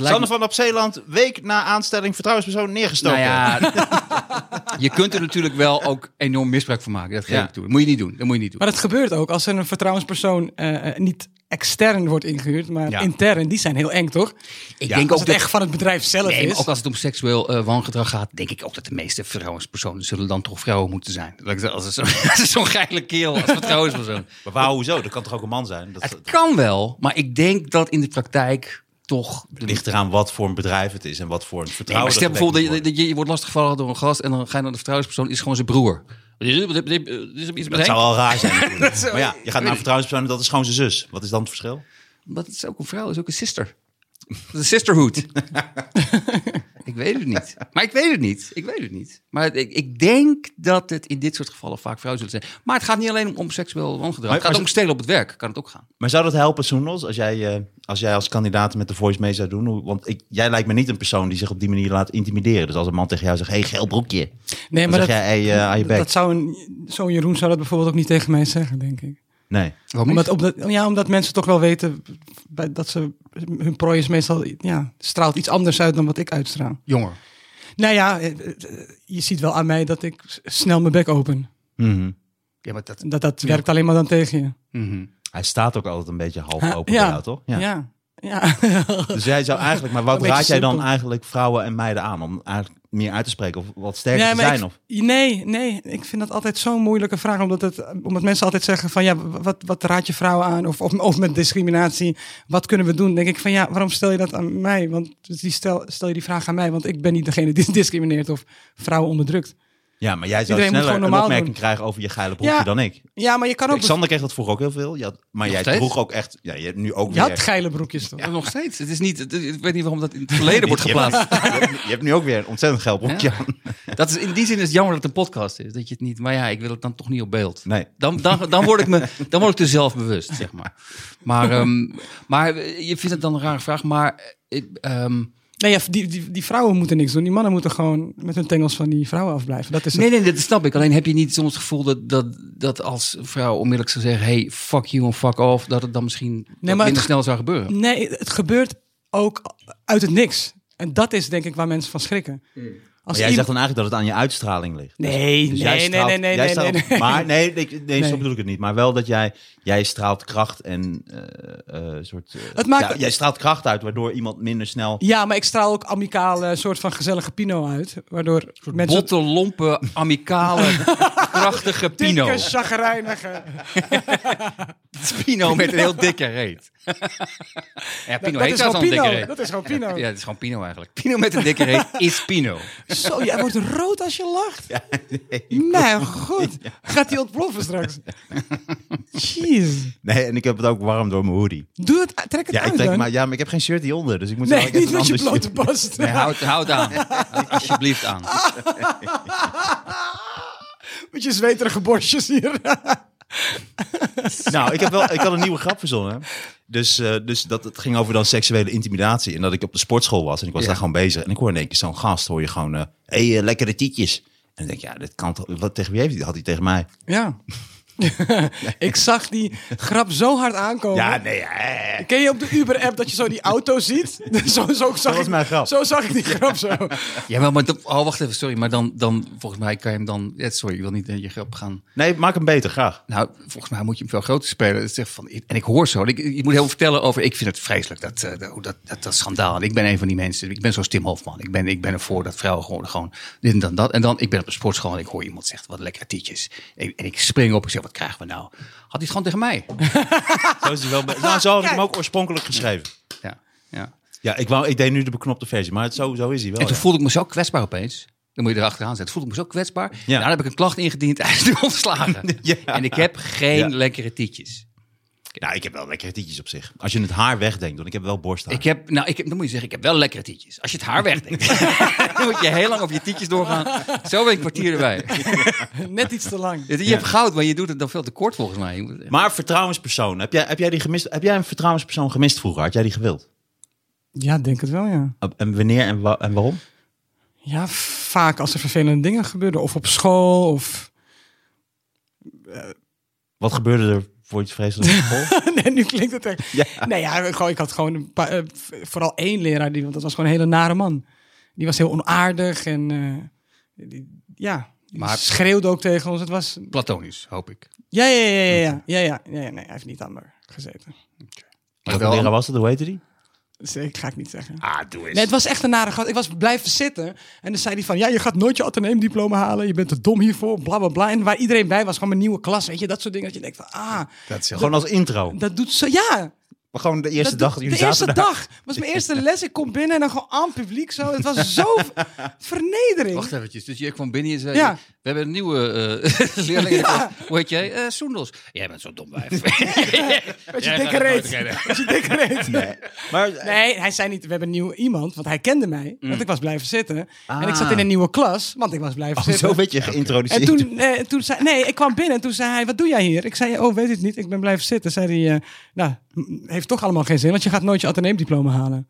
S4: lijkt me-
S3: Sanne van op Zeeland, week na aanstelling vertrouwenspersoon neergestoken.
S4: nou ja, je kunt er natuurlijk wel ook enorm misbruik van maken. Dat geef
S3: Ja.
S4: ik toe. Dat moet je niet doen. Dat moet je niet doen.
S2: Maar dat gebeurt ook als er een vertrouwenspersoon eh, eh, niet extern wordt ingehuurd, maar
S3: Ja.
S2: intern. Die zijn heel eng, toch?
S4: ik
S2: als het echt van het bedrijf zelf
S4: Nee, maar
S2: is.
S4: ook als het om seksueel eh, wangedrag gaat, denk ik ook dat de meeste vertrouwenspersonen zullen dan toch vrouwen moeten zijn. Dat ik zeg, Als het zo- als het zo'n geile kerel als vertrouwenspersoon.
S3: Maar waar, hoezo? Dat kan toch ook een man zijn? Dat,
S4: Het
S3: dat
S4: kan wel, maar ik denk dat in de praktijk toch... De
S3: ligt eraan wat voor een bedrijf het is en wat voor een
S4: Nee, maar
S3: vertrouwen.
S4: stel
S3: dat gewekt
S4: bijvoorbeeld dat je,
S3: moet
S4: dat je, je wordt lastiggevallen door een gast en dan ga je naar de vertrouwenspersoon, is gewoon zijn broer. Dit is- dit- dit- dit is
S3: worden. Dat
S4: iets
S3: zou
S4: met Henk.
S3: al raar zijn. natuurlijk.
S4: zou-
S3: maar ja, je gaat naar een vertrouwenspersoon en dat is gewoon zijn zus. Wat is dan het verschil?
S4: Maar het is ook een vrouw, het is ook een sister. Het is een sisterhood. ik weet het niet. Maar ik weet het niet. Ik weet het niet. Maar het- ik, ik denk dat het in dit soort gevallen vaak vrouwen zullen zijn. Maar het gaat niet alleen om, om seksueel wangedrag. Het
S3: Maar-
S4: gaat
S3: maar-
S4: ook om stelen op het werk. Kan het ook gaan.
S3: Maar zou dat helpen, Soenels, als jij, eh, als jij als kandidaat met de voice mee zou doen? Hoe- Want ik, jij lijkt me niet een persoon die zich op die manier laat intimideren. Dus als een man tegen jou zegt, hey, geel broekje.
S2: nee,
S3: Dan zeg jij, hey, eh, aan je bek.
S2: dat zou een, zo'n Jeroen zou dat bijvoorbeeld ook niet tegen mij zeggen, denk ik.
S3: Nee.
S2: Omdat, omdat, ja, omdat mensen toch wel weten bij- dat ze hun prooi is meestal ja, straalt iets anders uit dan wat ik uitstraal.
S4: Jonger.
S2: Nou ja, eh, eh, je ziet wel aan mij dat ik s- snel mijn bek open.
S3: Mhm.
S4: Ja, maar dat...
S2: Dat, dat werkt alleen maar dan tegen je.
S4: Mhm.
S3: Hij staat ook altijd een beetje half
S2: Ha,
S3: open
S2: ja.
S3: bij jou, toch?
S2: Ja. ja.
S3: Dus jij zou eigenlijk, maar
S2: Een
S3: wat
S2: beetje
S3: raad jij dan
S2: simpel.
S3: eigenlijk vrouwen en meiden aan? Om eigenlijk meer uit te spreken of wat sterker
S2: Nee,
S3: te
S2: maar
S3: zijn?
S2: ik-
S3: Of...
S2: nee, nee, ik vind dat altijd zo'n moeilijke vraag. Omdat, het, omdat mensen altijd zeggen van ja, wat, wat raad je vrouwen aan? Of, of, of met discriminatie, wat kunnen we doen? Dan denk ik van ja, waarom stel je dat aan mij? Want die stel, stel je die vraag aan mij, want ik ben niet degene die discrimineert of vrouwen onderdrukt.
S3: Ja, maar jij zou
S2: Iedereen moet
S3: sneller
S2: gewoon
S3: een
S2: normaal
S3: opmerking
S2: doen.
S3: krijgen over je geile broekje
S2: Ja.
S3: dan ik.
S2: Ja, maar je kan ook...
S3: Kijk, Sander kreeg Nou, dat vroeger ook heel veel. Je had- maar
S4: Nog
S3: jij
S4: steeds?
S3: droeg ook echt... Ja, je hebt nu ook
S2: je
S3: weer...
S2: had geile broekjes toch?
S4: Ja, nog steeds. Het is niet, het- ik weet niet waarom dat in het verleden wordt
S3: Je hebt-
S4: geplaatst.
S3: Je hebt, je hebt nu ook weer een ontzettend geil broekje.
S4: Ja. Dat is, in die zin is het jammer dat het een podcast is. Dat je het niet... Maar ja, ik wil het dan toch niet op beeld.
S3: Nee.
S4: Dan, dan, dan, word ik me, dan word ik er zelfbewust, zeg maar. Maar, ehm, maar je vindt het dan een rare vraag. Maar eh, ik, ehm,
S2: Nee, ja, die, die, die vrouwen moeten niks doen. Die mannen moeten gewoon met hun tengels van die vrouwen afblijven. Dat is het.
S4: Nee, nee, dat snap ik. Alleen heb je niet soms het gevoel dat, dat, dat als een vrouw onmiddellijk zou zeggen... hey, fuck you en fuck off, dat het dan misschien wat
S2: maar het
S4: minder
S2: ge-
S4: snel zou gebeuren.
S2: Nee, het gebeurt ook uit het niks. En dat is denk ik waar mensen van schrikken. Als
S3: Hmm. Maar jij
S2: iemand-
S3: zegt dan eigenlijk dat het aan je uitstraling ligt. Dus-
S2: Nee,
S3: dus
S2: nee,
S3: jij
S2: nee,
S3: straalt-
S2: nee, nee,
S3: jij
S2: nee,
S3: straalt-
S2: nee, nee.
S3: Maar nee, nee, nee, zo
S2: Nee.
S3: bedoel ik het niet. Maar wel dat jij, jij straalt kracht en eh, eh, soort. eh,
S2: Het maakt-
S3: ja, jij straalt kracht uit, waardoor iemand minder snel.
S2: Ja, maar ik straal ook amicaal eh, soort van gezellige pino uit. Waardoor mensen...
S4: Botte, lompe, amicale, krachtige Pino.
S2: Dikke, chagrijnige.
S4: Pino met een heel dikke reet. ja, Pino
S2: dat
S4: heet
S2: is
S4: trouwens al een
S2: gewoon
S4: dikke
S2: Pino.
S4: reet.
S2: Dat is gewoon Pino.
S4: Ja, het is gewoon Pino eigenlijk. Pino met een dikke reet is Pino.
S2: Zo, jij wordt rood als je lacht. nee, goed. Gaat die ontploffen straks? Jeez.
S3: Nee, en ik heb het ook warm door mijn hoodie.
S2: Doe het, trek het
S3: Ja,
S2: uit
S3: ik denk,
S2: dan.
S3: maar, ja maar ik heb geen shirt hieronder, dus ik moet
S2: nee,
S3: eigenlijk
S2: niet
S3: even
S2: met je
S3: een ander
S2: blote
S3: shirt-
S2: bast.
S4: Nee, houd, houd aan. Houd Alsjeblieft aan.
S2: Met je zweterige borstjes hier.
S3: Nou, ik, heb wel, ik had een nieuwe grap verzonnen. Dus, eh, dus dat, het ging over dan seksuele intimidatie. En dat ik op de sportschool was en ik was daar gewoon bezig. En ik hoor in één keer zo'n gast, hoor je gewoon... Hé, hey, eh, lekkere tietjes. En dan denk ik, ja, dit kan toch... Wat, tegen wie heeft hij? Had hij tegen mij?
S2: Ja. ik zag die grap zo hard aankomen.
S3: Ja, nee, eh.
S2: Ken je op de Uber-app dat je zo die auto ziet? zo, zo, zag
S3: was
S2: ik,
S3: mijn grap.
S2: zo zag ik die grap zo.
S4: Jawel, maar dat- oh, wacht even, sorry. Maar dan, dan volgens mij kan je hem dan... ja, Sorry, ik wil niet in je grap gaan.
S3: Nee, maak hem beter, graag.
S4: Nou, volgens mij moet je hem veel groter spelen. Het zegt van, en ik hoor zo. Ik, je moet heel veel vertellen over. Ik vind het vreselijk dat, eh, dat, dat, dat, dat schandaal. En ik ben een van die mensen. Ik ben zoals Tim Hofman. Ik ben, ik ben ervoor dat vrouwen gewoon, gewoon dit en dan dat. En dan, ik ben op de sportschool en ik hoor iemand zegt wat lekkere tietjes. En, en ik spring op. Ik zeg, wat krijgen we nou? Had hij het gewoon tegen mij?
S3: Zo is hij wel be- nou, zo had ik hem ook oorspronkelijk geschreven.
S4: Ja, ja.
S3: Ja, ik, wou, ik deed nu de beknopte versie, maar het, zo, zo is hij wel.
S4: En toen
S3: Oh, ja.
S4: voelde ik me zo kwetsbaar opeens. Dan moet je erachteraan zetten. Voelde ik me zo kwetsbaar.
S3: Ja.
S4: Daar heb ik een klacht ingediend. Hij is nu ontslagen.
S3: Ja.
S4: En ik heb geen
S3: Ja.
S4: lekkere tietjes.
S3: Nou, ik heb wel lekkere tietjes op zich. Als je het haar wegdenkt, want ik heb wel borsthaar.
S4: Ik heb, nou, ik heb, dan moet je zeggen, ik heb wel lekkere tietjes. Als je het haar wegdenkt, dan moet je heel lang op je tietjes doorgaan. Zo ben ik kwartier erbij.
S2: Net iets te lang.
S4: Je hebt goud, maar je doet het dan veel te kort volgens mij. Je moet-
S3: Maar vertrouwenspersoon, heb jij, heb, jij die gemist, heb jij een vertrouwenspersoon gemist vroeger? Had jij die gewild?
S2: Ja, denk het wel, ja.
S3: En wanneer en, wa- en waarom?
S2: Ja, vaak als er vervelende dingen gebeuren. Of op school, of...
S3: Wat gebeurde er voor iets vreselijks op school?
S2: nee, nu klinkt het echt...
S3: Ja.
S2: Nee, ja, gewoon- ik had gewoon een paar, eh, v- vooral één leraar, die, want dat was gewoon een hele nare man. Die was heel onaardig en... eh, die- ja, die
S4: Maar-
S2: schreeuwde ook tegen ons. Het was...
S4: Platonisch, hoop ik.
S2: Ja, ja, ja, ja, ja. ja, ja, ja, ja nee, hij heeft niet aan me gezeten.
S4: Maar
S3: Welke leraar
S4: wel,
S3: was dat? Hoe heette die?
S2: Dus ik ga ik niet zeggen.
S3: Ah, doe eens.
S2: Nee, het was echt een nare gast. Ik was blijven zitten. En dan zei hij van, ja, je gaat nooit je ateneemdiploma halen. Je bent te dom hiervoor, bla, bla, bla. En waar iedereen bij was, gewoon mijn nieuwe klas, weet je. Dat soort dingen. Dat je denkt van, ah,
S3: Dat is gewoon als intro.
S2: dat doet zo... Ja,
S3: Maar gewoon de eerste
S2: dat
S3: dag.
S2: doet-
S3: jullie
S2: de eerste
S3: zaten daar.
S2: dag. was mijn eerste les. Ik kom binnen en dan gewoon aan publiek zo. Het was zo ver- vernedering.
S4: wacht eventjes. Dus je kwam binnen en zei,
S2: Ja.
S4: we hebben een nieuwe eh, leerling.
S2: Ja.
S4: Hoe heet jij? Eh, Soendels. Jij bent zo'n dom wijf.
S2: Met je
S4: Jij
S2: dikke
S4: gaat nooit
S2: reet.
S4: redden.
S2: Met je dikke reet. Nee.
S3: Maar,
S2: hij zei niet, we hebben een nieuw iemand. Want hij kende mij.
S3: Mm.
S2: Want ik was blijven zitten. En ik zat in een nieuwe klas. Want ik was blijven
S3: Ah. Oh,
S2: zitten.
S3: zo werd je
S2: En
S3: geïntroduceerd.
S2: toen, eh, toen zei nee, ik kwam binnen en toen zei hij, wat doe jij hier? Ik zei, oh, weet het niet, ik ben blijven zitten. Zei hij, eh, nou, m- heeft toch allemaal geen zin, want je gaat nooit je ateneemdiploma halen.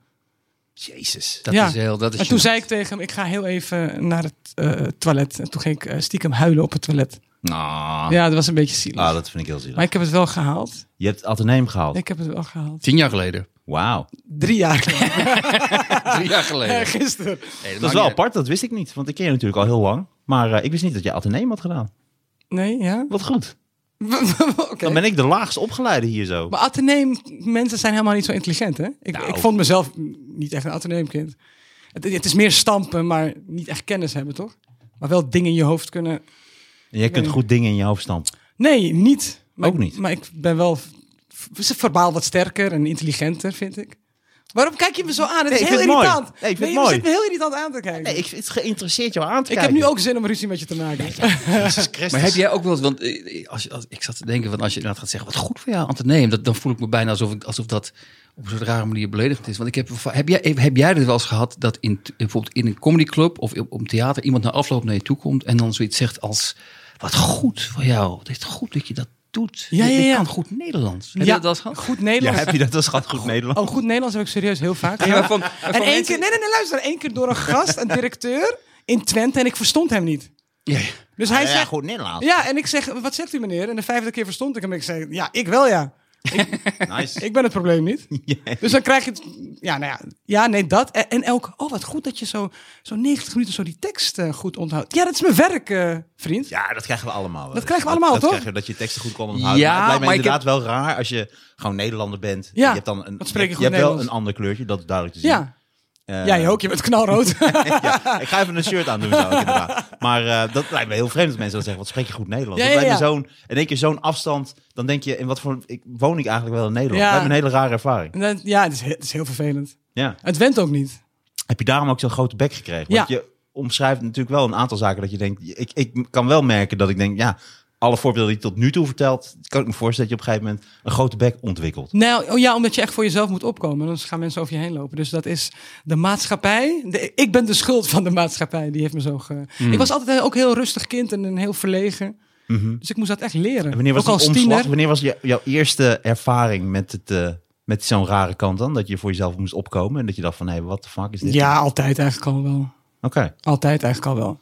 S3: Jezus.
S4: Dat
S2: Ja.
S4: is heel, dat is
S2: En toen
S4: gênant.
S2: zei ik tegen hem, ik ga heel even naar het eh, toilet. En toen ging ik eh, stiekem huilen op het toilet.
S3: Nou,
S2: Ja, dat was een beetje zielig.
S3: ah, dat vind ik heel zielig.
S2: Maar ik heb het wel gehaald.
S3: Je hebt Atheneum gehaald.
S2: Ik heb het wel gehaald.
S4: Tien jaar geleden.
S3: Wauw.
S2: Drie jaar geleden,
S4: Drie jaar geleden.
S2: eh, gisteren.
S4: Nee,
S3: Dat
S4: maakt
S3: is wel
S4: niet uit.
S3: apart, dat wist ik niet. Want ik ken je natuurlijk al heel lang. Maar eh, ik wist niet dat je Atheneum had gedaan.
S2: Nee, ja?
S3: Wat goed.
S2: Oké.
S3: Dan ben ik de laagst opgeleide hier zo.
S2: Maar ateneem mensen zijn helemaal niet zo intelligent, hè? Ik,
S3: Nou.
S2: ik vond mezelf niet echt een ateneemkind. Het, het is meer stampen, maar niet echt kennis hebben, toch? Maar wel dingen in je hoofd kunnen.
S3: En jij kunt
S2: Nee.
S3: goed dingen in je hoofd stampen.
S2: Nee, niet. Maar,
S3: Ook niet.
S2: Maar ik ben wel v- v- verbaal wat sterker en intelligenter, vind ik. Waarom kijk je me zo aan? Het
S3: Nee,
S2: is
S3: ik
S2: heel
S3: vind het mooi.
S2: irritant.
S3: Nee, ik vind het
S2: je
S3: mooi.
S2: zit me heel irritant aan te kijken. ik
S3: ik, het geïnteresseerd jou aan te
S2: heb nu ook zin om ruzie met je te maken.
S4: Maar heb jij ook wel eens, want eh, als, je- als, ik zat te denken, van als je inderdaad gaat zeggen, wat goed voor jou, Antoneem, dat, dan voel ik me bijna alsof, ik, alsof dat op een soort rare manier beledigend is. Want ik heb, heb, jij, heb jij dit wel eens gehad dat in, bijvoorbeeld in een comedyclub of op, op theater iemand na afloop naar je toe komt en dan zoiets zegt als, wat goed voor jou, dit is goed dat je dat doet.
S2: Ja, ja,
S4: Ik- Ik
S2: ja.
S4: kan goed Nederlands. Heb je
S2: Ja.
S4: dat wel eens gehad?
S2: Goed
S3: Ja,
S2: Nederlands.
S3: heb je dat als schat goed Nederlands?
S2: Oh, goed Nederlands heb ik serieus heel vaak.
S4: Ja, maar van- van
S2: en één
S4: mensen-
S2: keer, nee, nee, nee, luister. Eén keer door een gast, een directeur in Twente en ik verstond hem niet.
S4: Ja, ja.
S2: Dus hij
S3: Ah, ja,
S2: zegt,
S3: goed Nederlands.
S2: ja, en ik zeg, wat zegt u meneer? En de vijfde keer verstond ik hem. Ik zei, ja, ik wel ja.
S3: Nice.
S2: Ik ben het probleem niet. Dus dan krijg je, het- ja, nou ja, ja, nee, dat. En, en elke, oh, wat goed dat je zo, zo 90 minuten zo die tekst eh, goed onthoudt. Ja, dat is mijn werk, eh, vriend.
S3: Ja, dat krijgen we allemaal. wel.
S2: Dat krijgen we allemaal,
S3: dat,
S2: toch?
S3: Dat, krijg je, dat je teksten goed kan onthouden.
S4: Ja,
S3: Ja, maar het lijkt me
S4: maar ik
S3: inderdaad wel raar als je gewoon Nederlander bent.
S2: Ja,
S3: je hebt dan een,
S2: dat spreek je goed
S3: hebt wel een
S2: Nederlands.
S3: ander kleurtje, dat is duidelijk te zien.
S2: Ja,
S3: Eh,
S2: jij ook, je bent knalrood.
S3: ja, ik ga even een shirt aan doen, zou ik inderdaad. Maar eh, dat lijkt me heel vreemd dat mensen dat zeggen. Wat spreek je goed Nederlands?
S2: Ja,
S3: dat
S2: ja,
S3: lijkt me
S2: ja.
S3: zo'n, in één keer zo'n afstand. Dan denk je, in wat voor ik, woon ik eigenlijk wel in Nederland?
S2: Ja.
S3: Dat lijkt me een hele rare ervaring.
S2: En dan- ja, het is, he- het is heel vervelend.
S3: Ja.
S2: Het went ook niet.
S3: Heb je daarom ook zo'n grote bek gekregen? Want
S2: Ja.
S3: je omschrijft natuurlijk wel een aantal zaken dat je denkt... Ik, ik kan wel merken dat ik denk, ja, alle voorbeelden die je tot nu toe vertelt... kan ik me voorstellen dat je op een gegeven moment een grote bek ontwikkelt.
S2: Nou oh ja, omdat je echt voor jezelf moet opkomen. Anders gaan mensen over je heen lopen. Dus dat is de maatschappij. De- ik ben de schuld van de maatschappij. Die heeft me zo ge...
S3: Mm.
S2: Ik was altijd eh, ook heel rustig kind en een heel verlegen. Dus ik moest dat echt leren.
S3: Mhm. En wanneer was
S2: ook als
S3: die omslag?
S2: tiener.
S3: Wanneer was jou- jouw eerste ervaring met, het, eh, met zo'n rare kant dan? Dat je voor jezelf moest opkomen en dat je dacht van... hé, wat de fuck is dit?
S2: Ja, altijd eigenlijk al wel.
S3: Oké.
S2: Altijd eigenlijk al wel.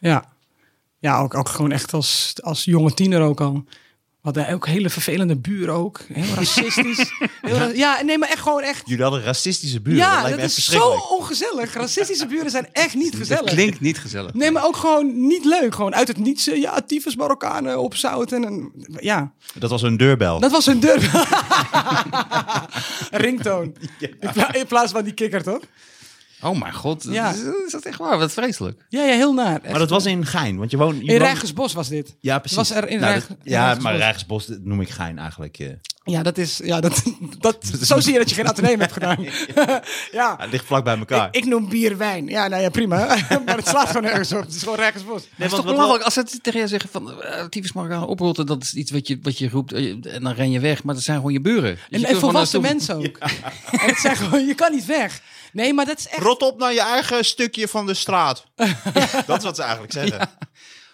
S2: Ja, ja ook, ook gewoon echt als, als jonge tiener ook al. We hadden ook hele vervelende buren ook. Heel racistisch. Heel ra- ja, nee, maar echt gewoon echt.
S3: Jullie hadden racistische buren. dat
S2: ja,
S3: lijkt
S2: dat
S3: me echt
S2: is zo
S3: verschrikkelijk.
S2: ongezellig. Racistische buren zijn echt niet
S4: Dat
S2: gezellig.
S4: klinkt niet gezellig.
S2: Nee, maar ook gewoon niet leuk. Gewoon uit het niets. eh, Ja, tyfus Marokkanen opzouten. En, ja,
S3: Dat was een deurbel.
S2: dat was hun deur. Ringtoon. In, pla- in plaats van die kikker, toch?
S4: Oh mijn god,
S2: Ja.
S4: is, is dat echt waar? Wat vreselijk.
S2: Ja, ja heel naar.
S3: maar dat was in Gein, want je woont... je
S2: in
S3: woont-
S2: Rijgersbos was dit.
S3: Ja, precies.
S2: Was er in
S3: Nou,
S2: Rijg-
S3: dat-
S2: in
S3: ja,
S2: Rijgersbos.
S3: maar Rijgersbos dat noem ik Gein eigenlijk. eh.
S2: Ja, dat is. Ja, dat, dat, zo zie je dat je geen ateneum hebt gedaan. ja.
S3: Ah, Het ligt vlak bij elkaar.
S2: Ik, ik noem bier wijn. Ja, nou ja, prima. maar het slaat gewoon ergens op. Het is gewoon Rijgersbos.
S4: Het is
S3: want
S4: toch
S3: wat-
S4: belachelijk als ze tegen je zeggen van eh, tyfus Marokkaan oprotten, dat is iets wat je, wat je roept eh, en dan ren je weg, maar dat zijn gewoon je buren. Dus je
S2: En,
S4: kunt
S2: en
S4: gewoon
S2: volwassen
S4: naartoe.
S2: mensen ook. En het zijn gewoon, je kan niet weg. Nee, maar dat is echt.
S3: Rot op naar je eigen stukje van de straat. dat is wat ze eigenlijk zeggen.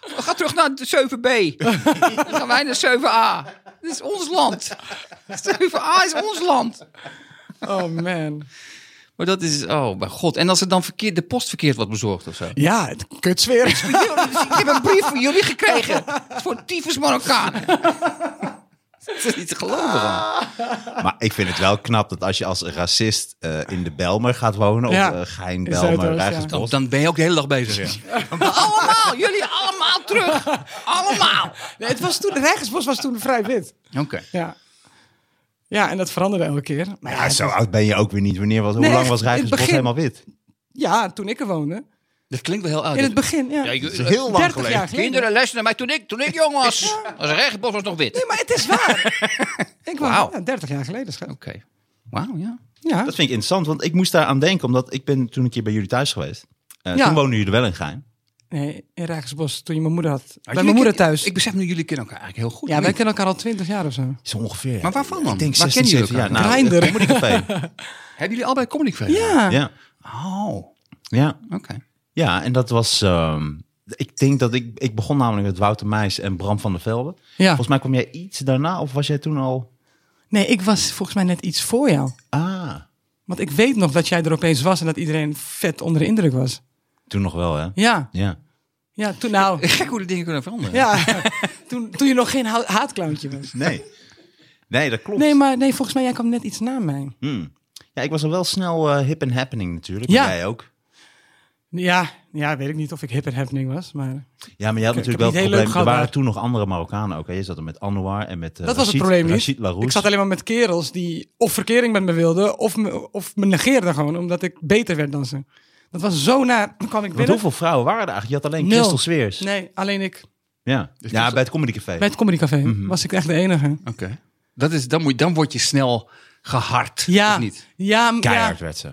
S4: Ga terug naar de 7B. Dan gaan wij naar 7A. Dit is ons land. 7A is ons land.
S2: Oh man.
S4: Maar dat is, oh mijn god. En als er dan verkeerd, de post verkeerd wordt bezorgd of zo.
S2: Ja, het kutsfeer.
S4: Ik heb een brief van jullie gekregen. Het is voor tyfus Marokkanen. Dat is niet te geloven. gewoon.
S3: Maar ik vind het wel knap dat als je als racist eh, in de Belmer gaat wonen,
S2: Ja.
S3: of eh, Gein,
S2: In
S3: Belmer,
S2: Zuidoost, ja.
S4: Dan,
S3: Rijgersbos.
S4: dan ben je ook de hele dag bezig. Allemaal, jullie allemaal terug. Allemaal.
S2: Nee, het was toen, Rijgersbos was toen vrij wit.
S4: Oké.
S2: Ja. Ja, en dat veranderde elke keer. Maar ja,
S3: Ja, zo oud ben je ook weer niet. Wanneer was,
S2: Nee,
S3: hoe lang
S2: echt,
S3: was
S2: in het
S3: Rijgersbos
S2: begin.
S3: helemaal wit?
S2: ja, toen ik er woonde.
S4: Dat klinkt wel heel oud.
S2: In het begin, ja.
S4: Ja, ik-
S3: Dat is heel lang
S2: 30
S3: geleden.
S2: jaar geleden.
S4: Kinderen luisteren naar mij toen ik, toen ik jong was. Als rechtbos was nog wit.
S2: Nee, maar het is waar. ik woonde
S4: Wauw.
S2: ja, 30 jaar geleden, schat.
S4: Oké. Wauw, ja.
S2: Ja.
S3: Dat vind ik interessant, want ik moest daar aan denken, omdat ik ben toen een keer bij jullie thuis geweest. Eh,
S2: Ja.
S3: Toen woonden jullie er wel in Gein.
S2: Nee, in Rijgersbos, toen je mijn moeder had. bij
S4: jullie
S2: mijn moeder
S4: ken-
S2: thuis.
S4: Ik besef nu, jullie kennen elkaar eigenlijk heel goed.
S2: ja, wij
S4: Niet?
S2: kennen elkaar al 20 jaar of zo.
S3: Zo ongeveer.
S4: Maar waarvan dan?
S3: Ik denk
S4: Waar
S3: 16,
S4: kennen jullie
S3: 17 jaar.
S4: elkaar?
S3: Nou,
S2: Grindr.
S3: eh, Comedycafé.
S4: Hebben jullie allebei comedy gedaan?
S2: Nou. Ja.
S3: ja.
S4: Oh, oké.
S3: ja, Ja, en dat was. ehm, ik denk dat ik. Ik begon namelijk met Wouter Meijs en Bram van der Velde.
S2: ja.
S3: Volgens mij kwam jij iets daarna, of was jij toen al.
S2: Nee, ik was volgens mij net iets voor jou.
S3: Ah,
S2: Want ik weet nog dat jij er opeens was en dat iedereen vet onder de indruk was.
S3: toen nog wel, hè?
S2: Ja,
S3: Ja.
S2: ja toen nou...
S4: Gek hoe de dingen kunnen veranderen.
S2: Ja, toen, toen je nog geen hou- haatclowntje was.
S3: Nee. Nee, dat klopt.
S2: Nee, maar nee, volgens mij, jij kwam net iets na mij.
S3: Hmm. Ja, ik was al wel snel eh, hip en happening natuurlijk.
S2: Ja.
S3: Ja. Jij ook.
S2: Ja, ja, weet ik niet of ik hip en happening was, maar...
S3: Ja, maar jij had
S2: Ik- ik heb
S3: natuurlijk wel
S2: niet heel
S3: het
S2: leuk
S3: probleem. Er
S2: gehad
S3: waren
S2: daar.
S3: toen nog andere Marokkanen ook. Hè? Je zat er met Anouar en met. eh,
S2: Dat was het
S3: Rashid-
S2: probleem niet.
S3: Rashid Larousse.
S2: Ik zat alleen maar met kerels die of verkering met me wilden, of me, of me negeerden gewoon, omdat ik beter werd dan ze. Dat was zo naar... Toen kwam ik
S3: Want
S2: binnen...
S3: hoeveel vrouwen waren er eigenlijk? Je had alleen
S2: Nul.
S3: Crystal Sweers.
S2: Nee, alleen ik.
S3: Ja, ja bij het Comedy Café.
S2: Bij het comedycafé was ik echt de enige.
S4: Oké. Dat is, dan, moet, dan word je snel gehard,
S2: Ja,
S4: of niet?
S2: ja, m- ja.
S3: Keihard werd ze.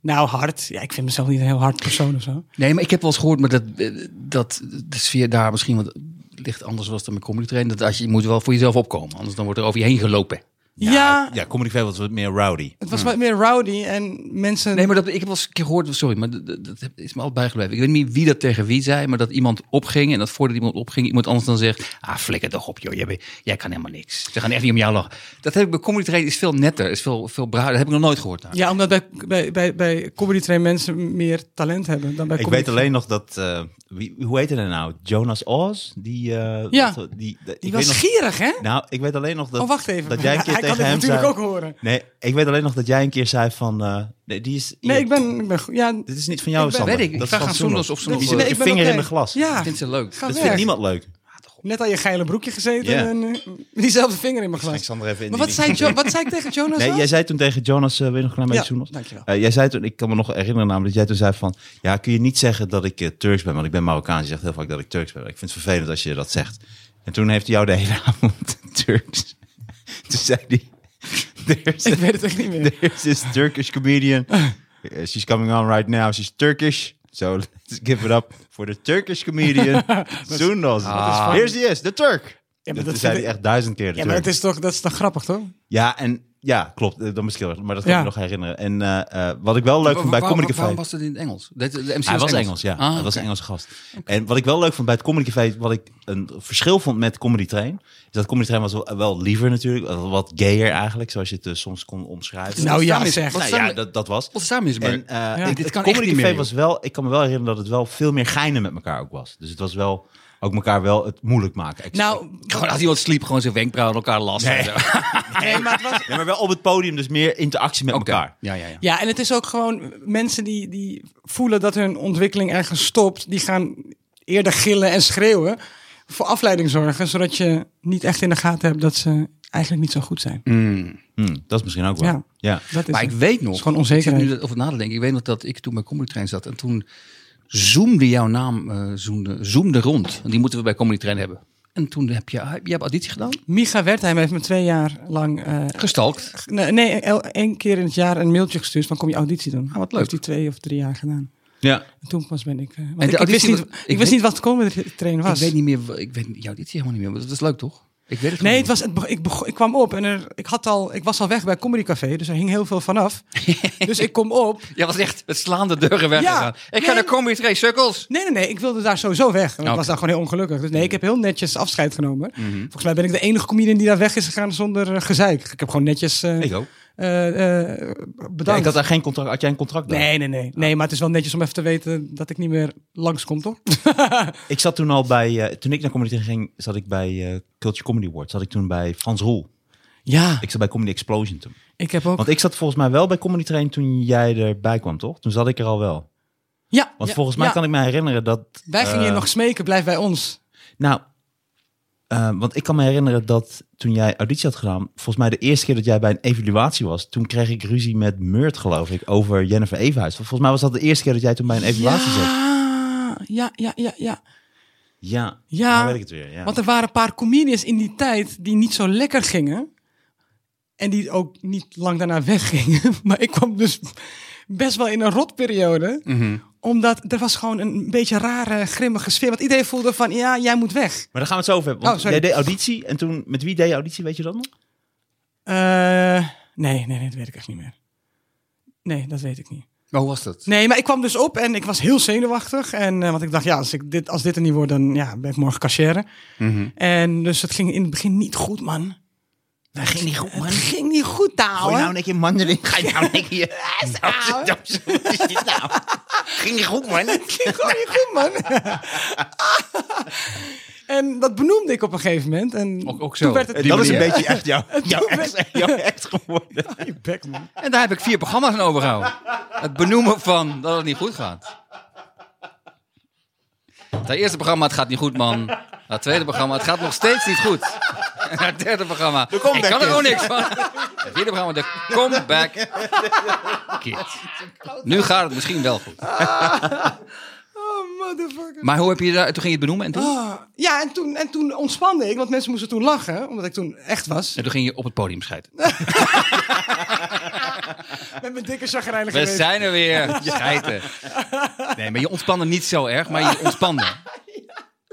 S2: Nou, hard. Ja, ik vind mezelf niet een heel hard persoon of zo.
S4: Nee, maar ik heb wel eens gehoord maar dat, eh, dat de sfeer daar misschien wat ligt anders was dan met comedy trainen. Dat als je, je moet wel voor jezelf opkomen, anders dan wordt er over je heen gelopen.
S2: Ja.
S3: ja Comedy Festival was wat meer rowdy.
S2: Het was wat meer rowdy en mensen...
S4: Nee, maar dat, ik heb wel eens een keer gehoord, sorry, maar dat, dat- dat is me altijd bijgebleven. Ik weet niet wie dat tegen wie zei, maar dat iemand opging en dat voordat iemand opging, iemand anders dan zegt, ah, flikker toch op joh, jij, bent- jij kan helemaal niks. Ze gaan echt niet om jou lachen. Dat heb ik bij Comedy Train, is veel netter, is veel, veel braver. Dat heb ik nog nooit gehoord. Nou.
S2: Ja, omdat bij, bij, bij, bij Comedy Train mensen meer talent hebben dan bij
S3: Ik
S2: Comedy
S3: weet alleen nog dat, eh, wie, hoe heette hij nou? Jonas Oz? Die, eh,
S2: Ja.
S3: dat- die, dat-
S2: Die
S3: ik
S2: was
S3: weet nog-
S2: gierig, hè?
S3: Nou, ik weet alleen nog dat,
S2: oh, wacht even.
S3: dat jij een keer
S2: Hij
S3: tegen
S2: kan
S3: hem
S2: dit natuurlijk
S3: zei...
S2: ook horen.
S3: Nee, ik weet alleen nog dat jij een keer zei van... eh, nee, die is,
S2: Nee, ik ben... Ik ben go- ja,
S3: Dit is niet van jou,
S2: Ik ben-
S3: Sander.
S4: weet ik, ik
S3: dat
S4: vraag
S3: is
S4: aan
S3: van
S4: Soendos of ze
S3: Die
S4: nog-
S3: zit met
S2: Ik
S3: Dus-
S2: ben
S3: je vinger in
S2: oké.
S3: mijn glas.
S2: Ja,
S4: Ik vind ze leuk.
S2: ga
S3: Dat
S2: weg.
S3: vindt niemand leuk.
S4: Ah,
S2: Net aan je geile broekje gezeten
S3: Ja.
S2: en eh, die zelfde vinger in mijn
S3: Ik
S2: glas.
S3: Sander even in
S2: Maar
S3: die
S2: wat zei, Jo- wat zei ik tegen Jonas?
S3: Nee,
S2: dan?
S3: jij zei toen tegen Jonas, eh weet je nog een klein beetje
S2: Ja,
S3: Soenos?
S2: dankjewel.
S3: Eh, jij zei toen, ik kan me nog herinneren namelijk, dat jij toen zei van... Ja, kun je niet zeggen dat ik eh, Turks ben, want ik ben Marokkaans. Je zegt heel vaak dat ik Turks ben. Ik vind het vervelend als je dat zegt. En toen heeft hij jou de hele avond Turks. Toen zei hij... There's,
S2: Ik weet het echt niet meer.
S3: there's this Turkish comedian. Eh, She's coming on right now. She's Turkish. So let's give it up for the Turkish comedian Soenos.
S2: Ah.
S3: Here's he is, the Turk.
S2: Ja, maar
S3: dat
S2: dat
S3: zei
S2: vind
S3: hij
S2: ik-
S3: echt duizend keer. de
S2: Ja, maar
S3: Turk.
S2: het is toch, dat is toch grappig, toch?
S3: Ja, en ja, klopt. eh, Dat misschien wel, maar dat kan
S2: Ja.
S3: ik me nog herinneren. En eh, eh, wat ik wel leuk vond bij
S4: Waarom-
S3: Comedy Café.
S4: waarom- Waarom was dat in het Engels? De, de MC
S3: Hij was Engels, ja.
S4: Ah,
S3: hij was
S4: oké.
S3: een Engelse gast. En wat ik wel leuk vond bij het Comedy Café, wat ik een verschil vond met Comedy Train, is dat Comedy Train was wel, eh, wel liever natuurlijk, wel wat gayer eigenlijk, zoals je het eh, soms kon omschrijven.
S2: Nou ja,
S4: Samen is-
S2: zeg.
S4: wat
S3: Nou
S4: samen-
S3: ja, dat, dat was.
S4: Wat samen is het
S3: En
S4: maar.
S3: eh,
S2: Ja.
S3: het,
S4: Dit
S3: het
S4: kan echt
S3: Comedy
S4: niet
S3: Café
S4: meer,
S3: was wel, ik kan me wel herinneren dat het wel veel meer geinen met elkaar ook was. Dus het was wel ook elkaar wel het moeilijk maken. Ik-
S2: Nou,
S4: Gewoon als iemand sliep, gewoon zijn wenkbrauwen aan elkaar lasten.
S3: Nee.
S4: en zo.
S2: nee, maar het was,
S3: ja, maar wel op het podium, dus meer interactie met
S4: Oké.
S3: elkaar.
S4: Ja, ja, ja.
S2: Ja, en het is ook gewoon mensen die, die voelen dat hun ontwikkeling ergens stopt, die gaan eerder gillen en schreeuwen voor afleiding zorgen, zodat je niet echt in de gaten hebt dat ze eigenlijk niet zo goed zijn.
S3: Hm, dat is misschien ook wel.
S2: Ja.
S3: ja.
S2: Dat is
S4: Maar ik
S2: het.
S4: weet nog.
S2: Het is gewoon
S4: Ik
S2: onzekerheid.
S4: zit nu over na te denken. Ik weet nog dat ik toen bij Comedy Train zat. En toen zoomde jouw naam eh, zoomde, zoomde rond. En Die moeten we bij Comedy Train hebben. En toen heb je, heb je hebt auditie gedaan.
S2: Micha Wertheim heeft me twee jaar lang, eh,
S4: Gestalkt.
S2: nee, nee, el- één keer in het jaar een mailtje gestuurd van kom je auditie doen.
S4: Ah, wat leuk.
S2: Heeft hij twee of drie jaar gedaan.
S3: ja.
S2: En toen pas ben ik, eh, want
S4: de
S2: ik, ik wist,
S4: auditie
S2: niet,
S4: was-
S2: ik
S4: ik
S2: wist
S4: weet-
S2: niet wat de komende train was.
S4: Ik weet niet meer. wa- Ik weet jouw auditie helemaal niet meer. Dat is leuk toch? Ik weet het
S2: Nee, het
S4: gewoon
S2: was, het, be- ik, bego- ik kwam op en er, ik, had al, ik was al weg bij Comedy Café, dus er hing heel veel vanaf. dus ik kom op.
S4: niet. Jij was echt het slaande deuren weggegaan.
S2: Ja,
S4: ik ga
S2: nee.
S4: naar Comedy Train, sukkels.
S2: Nee, nee, nee, ik wilde daar sowieso weg. want Ik
S4: Oké.
S2: was daar gewoon heel ongelukkig. Dus nee, ik heb heel netjes afscheid genomen.
S3: Mhm.
S2: Volgens mij ben ik de enige comedian die daar weg is gegaan zonder eh, gezeik. Ik heb gewoon netjes eh,
S3: Ik ook.
S2: eh, eh,
S3: Ja, ik
S2: bedankt.
S3: had daar geen contract. Had jij een contract? daar?
S2: Nee, nee, nee. Nee, maar het is wel netjes om even te weten dat ik niet meer langskom, toch?
S3: Ik zat toen al bij. eh, toen ik naar Comedy Train ging, zat ik bij eh Culture Comedy Awards. Zat ik toen bij Frans Roel.
S2: ja,
S3: Ik zat bij Comedy Explosion toen.
S2: ik heb ook...
S3: Want ik zat volgens mij wel bij Comedy Train toen jij erbij kwam, toch? Toen zat ik er al wel.
S2: ja,
S3: Want
S2: ja,
S3: volgens mij
S2: ja.
S3: kan ik me herinneren dat.
S2: Wij gingen je
S3: eh,
S2: nog smeken, blijf bij ons.
S3: Nou, eh, want ik kan me herinneren dat toen jij auditie had gedaan, volgens mij de eerste keer dat jij bij een evaluatie was, toen kreeg ik ruzie met Meurt, geloof ik, over Jennifer Evenhuis. Volgens mij was dat de eerste keer dat jij toen bij een evaluatie zat.
S2: ja, ja, ja, ja, ja.
S3: Ja.
S2: Ja.
S3: Nou weet ik het weer. Ja.
S2: Want er waren een paar comedians in die tijd die niet zo lekker gingen. En die ook niet lang daarna weggingen. Maar ik kwam dus best wel in een rotperiode. Omdat er was gewoon een beetje rare, grimmige sfeer. Want iedereen voelde van, ja, jij moet weg.
S3: Maar daar gaan we het zo over hebben. Want
S2: Oh, sorry.
S3: jij deed auditie en toen met wie deed je auditie, weet je dat nog?
S2: Eh, nee, nee, nee, dat weet ik echt niet meer. Nee, dat weet ik niet.
S4: Maar hoe was dat?
S2: Nee, maar ik kwam dus op en ik was heel zenuwachtig. En, eh, want ik dacht, ja, als, ik dit, als dit er niet wordt, dan ja, ben ik morgen cashier.
S4: Mhm.
S2: En dus het ging in het begin niet goed, man.
S3: Dat ging niet goed, man.
S2: Het ging niet goed, ouwe.
S3: Gooi nou een keer mandeling. Ga je nou een keer...
S2: ouwe.
S3: Wat is dit nou? Ging niet goed, man.
S2: ging gewoon niet goed, man. en dat benoemde ik op een gegeven moment. En
S4: Ook- ook zo. Eh,
S2: Toen werd het
S4: Die
S3: Dat is een
S4: manier.
S3: beetje echt jou, jou,
S2: Toen
S3: echt, jou echt geworden.
S2: Je bek, man.
S4: En daar heb ik vier programma's aan overgehouden. Het benoemen van dat het niet goed gaat. Het eerste programma, het gaat niet goed, man. Het tweede programma, het gaat nog steeds niet goed. En het derde programma, ik
S3: comeback
S4: kan er
S3: kid.
S4: ook niks van. Het vierde programma, de comeback kid. Nu gaat het misschien wel goed.
S2: Oh, motherfucker.
S4: Maar hoe heb je daar, toen ging je het benoemen en toen?
S2: Ah, ja, en toen, en toen ontspande ik, want mensen moesten toen lachen, omdat ik toen echt was.
S4: En toen ging je op het podium scheiden.
S2: Met mijn dikke chagrijnige
S4: We
S2: reet.
S4: zijn er weer, scheiden. Nee, maar je ontspande niet zo erg, maar je ontspande.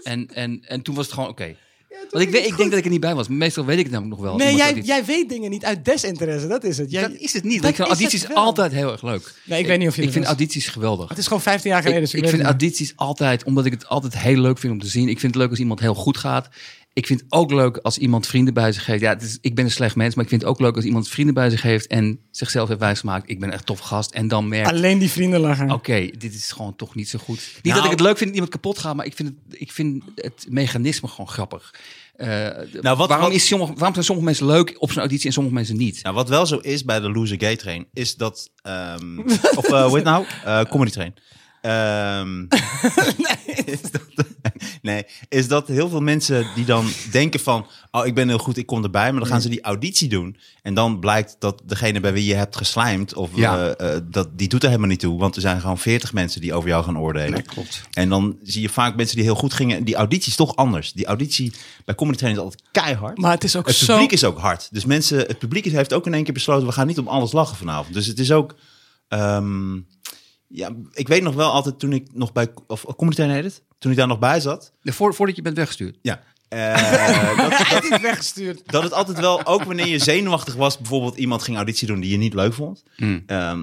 S4: En, en, en toen was het gewoon oké.
S2: Ja, toen dat
S4: Want ik,
S2: vind
S4: weet, ik denk dat ik er niet bij was. maar Meestal weet ik het namelijk nog wel.
S2: Nee,
S4: Iemand
S2: jij,
S4: dat iets-
S2: jij weet dingen niet uit desinteresse, dat is het. Jij,
S4: dat is het niet.
S2: dat
S4: ik vind
S2: is het
S4: audities
S2: wel.
S4: altijd heel erg leuk.
S2: Nee, ik weet niet of je
S4: Ik
S2: dat
S4: vind
S2: was.
S4: audities geweldig.
S2: Ah, Het is gewoon 15 jaar geleden. dus
S4: ik,
S2: ik
S4: ik
S2: weet
S4: vind
S2: het niet.
S4: audities altijd, omdat ik het altijd heel leuk vind om te zien. Ik vind het leuk als iemand heel goed gaat. Ik vind het ook leuk als iemand vrienden bij zich heeft. Ja, het is, ik ben een slecht mens, maar ik vind het ook leuk als iemand vrienden bij zich heeft en zichzelf heeft wijsgemaakt. Ik ben echt tof gast. En dan merkt,
S2: Alleen die vrienden lachen.
S3: Oh.
S4: oké, dit is gewoon toch niet zo goed. Niet
S3: Nou-
S4: dat ik het leuk vind dat iemand kapot gaat, maar ik vind het, ik vind het mechanisme gewoon grappig. Eh,
S3: Nou, wat-
S4: waarom,
S3: wat-
S4: is sommige, waarom zijn sommige mensen leuk op zo'n auditie en sommige mensen niet?
S3: Nou, wat wel zo is bij de Loser Gay Train, is dat... ehm, of eh, hoe heet het nou? Eh, comedy Train. Ehm, is dat, nee, is dat heel veel mensen die dan denken van... Oh, ik ben heel goed, ik kom erbij. Maar dan gaan ze die auditie doen. En dan blijkt dat degene bij wie je hebt geslijmd... Of,
S4: Ja.
S3: eh, eh, dat, die doet er helemaal niet toe. Want er zijn gewoon veertig mensen die over jou gaan oordelen.
S4: klopt.
S3: En dan zie je vaak mensen die heel goed gingen. En die auditie is toch anders. Die auditie bij Comedy Train is altijd keihard.
S2: Maar het is ook
S3: Het
S2: zo...
S3: publiek is ook hard. Dus mensen, het publiek is- heeft ook in één keer besloten: we gaan niet om alles lachen vanavond. Dus het is ook. ehm, ja, ik weet nog wel altijd toen ik nog bij. Of Comedy Train heet het? Toen ik daar nog bij zat.
S4: Voor, voordat je bent weggestuurd.
S3: Ja. eh, dat, dat,
S2: Niet weggestuurd.
S3: dat het altijd wel, ook wanneer je zenuwachtig was, bijvoorbeeld iemand ging auditie doen die je niet leuk vond.
S2: Hmm.
S3: ehm,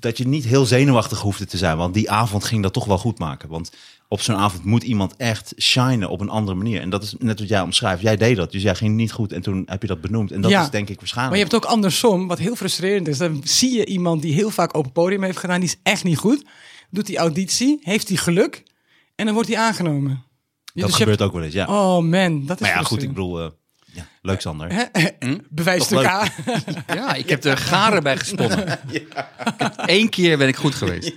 S3: dat je niet heel zenuwachtig hoefde te zijn. Want die avond ging dat toch wel goed maken. Want op zo'n avond moet iemand echt shinen op een andere manier. En dat is net wat jij omschrijft. Jij deed dat. Dus jij ging niet goed. En toen heb je dat benoemd. En dat
S2: Ja.
S3: is denk ik waarschijnlijk.
S2: Maar je hebt ook andersom, wat heel frustrerend is. Dan zie je iemand die heel vaak open podium heeft gedaan, die is echt niet goed. Doet die auditie, heeft die geluk en dan wordt die aangenomen. Ja,
S3: dat
S2: dus je
S3: gebeurt ook wel eens, ja.
S2: hebt- Oh man, dat is
S3: maar ja, goed, ik
S2: frustrerend.
S3: Hm? bedoel, eh, ja, leuk Sander.
S2: Hè? Bewijsstuk
S3: Nog
S2: A.
S4: Ja, ik heb er garen bij gesponnen. Eén keer ben ik goed geweest.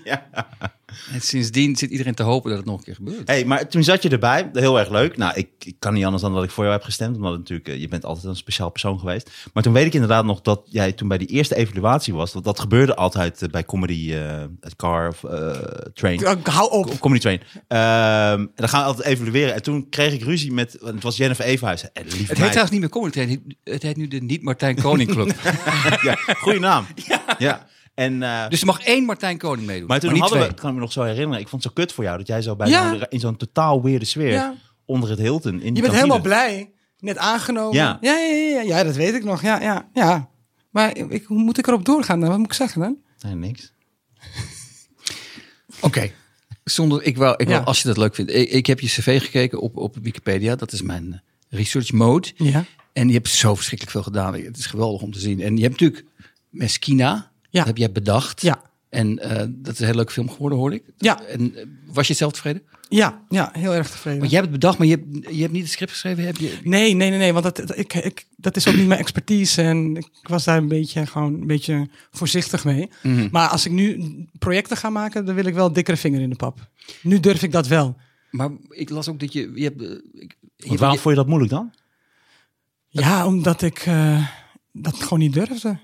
S4: En sindsdien zit iedereen te hopen dat het nog een keer gebeurt.
S3: Hey, maar toen zat je erbij, heel erg leuk. Nou, ik, ik kan niet anders dan dat ik voor jou heb gestemd, omdat het natuurlijk, eh, je bent altijd een speciaal persoon geweest. Maar toen weet ik inderdaad nog dat jij toen bij die eerste evaluatie was, want dat gebeurde altijd eh, bij comedy, eh, het car of eh, train.
S2: Hou op.
S3: Com- Comedy train. Ehm, en dan gaan we altijd evalueren. En toen kreeg ik ruzie met, want het was Jennifer Evenhuis. En lieve
S4: Het heet
S3: meid.
S4: trouwens niet meer Comedy Train. het heet- Het heet nu de Niet Martijn Koning Club.
S3: ja, goede naam. Ja. En, eh,
S4: Dus er mag één Martijn Koning meedoen.
S3: Maar toen
S4: niet
S3: hadden we,
S4: twee.
S3: ik kan me nog zo herinneren, ik vond het zo kut voor jou dat jij zo bij
S2: Ja.
S3: zo'n- in zo'n totaal weerde sfeer
S2: Ja.
S3: onder het Hilton. In die
S2: Je bent
S3: kantine.
S2: helemaal blij. Net aangenomen.
S3: dus. Ja.
S2: Ja, ja, ja, ja, ja, dat weet ik nog. Ja, ja, ja. Maar ik, hoe moet ik erop doorgaan dan? Wat moet ik zeggen dan?
S3: Nee, niks.
S4: Oké. Zonder, ik wou, ik
S2: Ja.
S4: wou, als je dat leuk vindt. Ik, ik heb je cv gekeken op, op Wikipedia. Dat is mijn eh, research mode.
S2: Ja.
S4: En je hebt zo verschrikkelijk veel gedaan. Het is geweldig om te zien. En je hebt natuurlijk Meskina.
S2: Ja.
S4: Dat heb jij bedacht.
S2: Ja.
S4: En eh, dat is een heel leuke film geworden, hoorde ik.
S2: Ja.
S4: En eh, was je zelf tevreden?
S2: Ja, ja heel erg tevreden.
S4: Want jij hebt het bedacht, maar je hebt, je hebt niet het script geschreven. Heb je...
S2: Nee, nee, nee, nee, want dat, dat- ik, ik, dat is ook niet mijn expertise en ik was daar een beetje, gewoon een beetje voorzichtig mee. Maar als ik nu projecten ga maken, dan wil ik wel dikkere vinger in de pap. Nu durf ik dat wel.
S4: Maar ik las ook dat je... je, hebt, eh, ik- je
S3: Want waarom vond je dat moeilijk dan?
S2: Ja, omdat ik eh, dat gewoon niet durfde.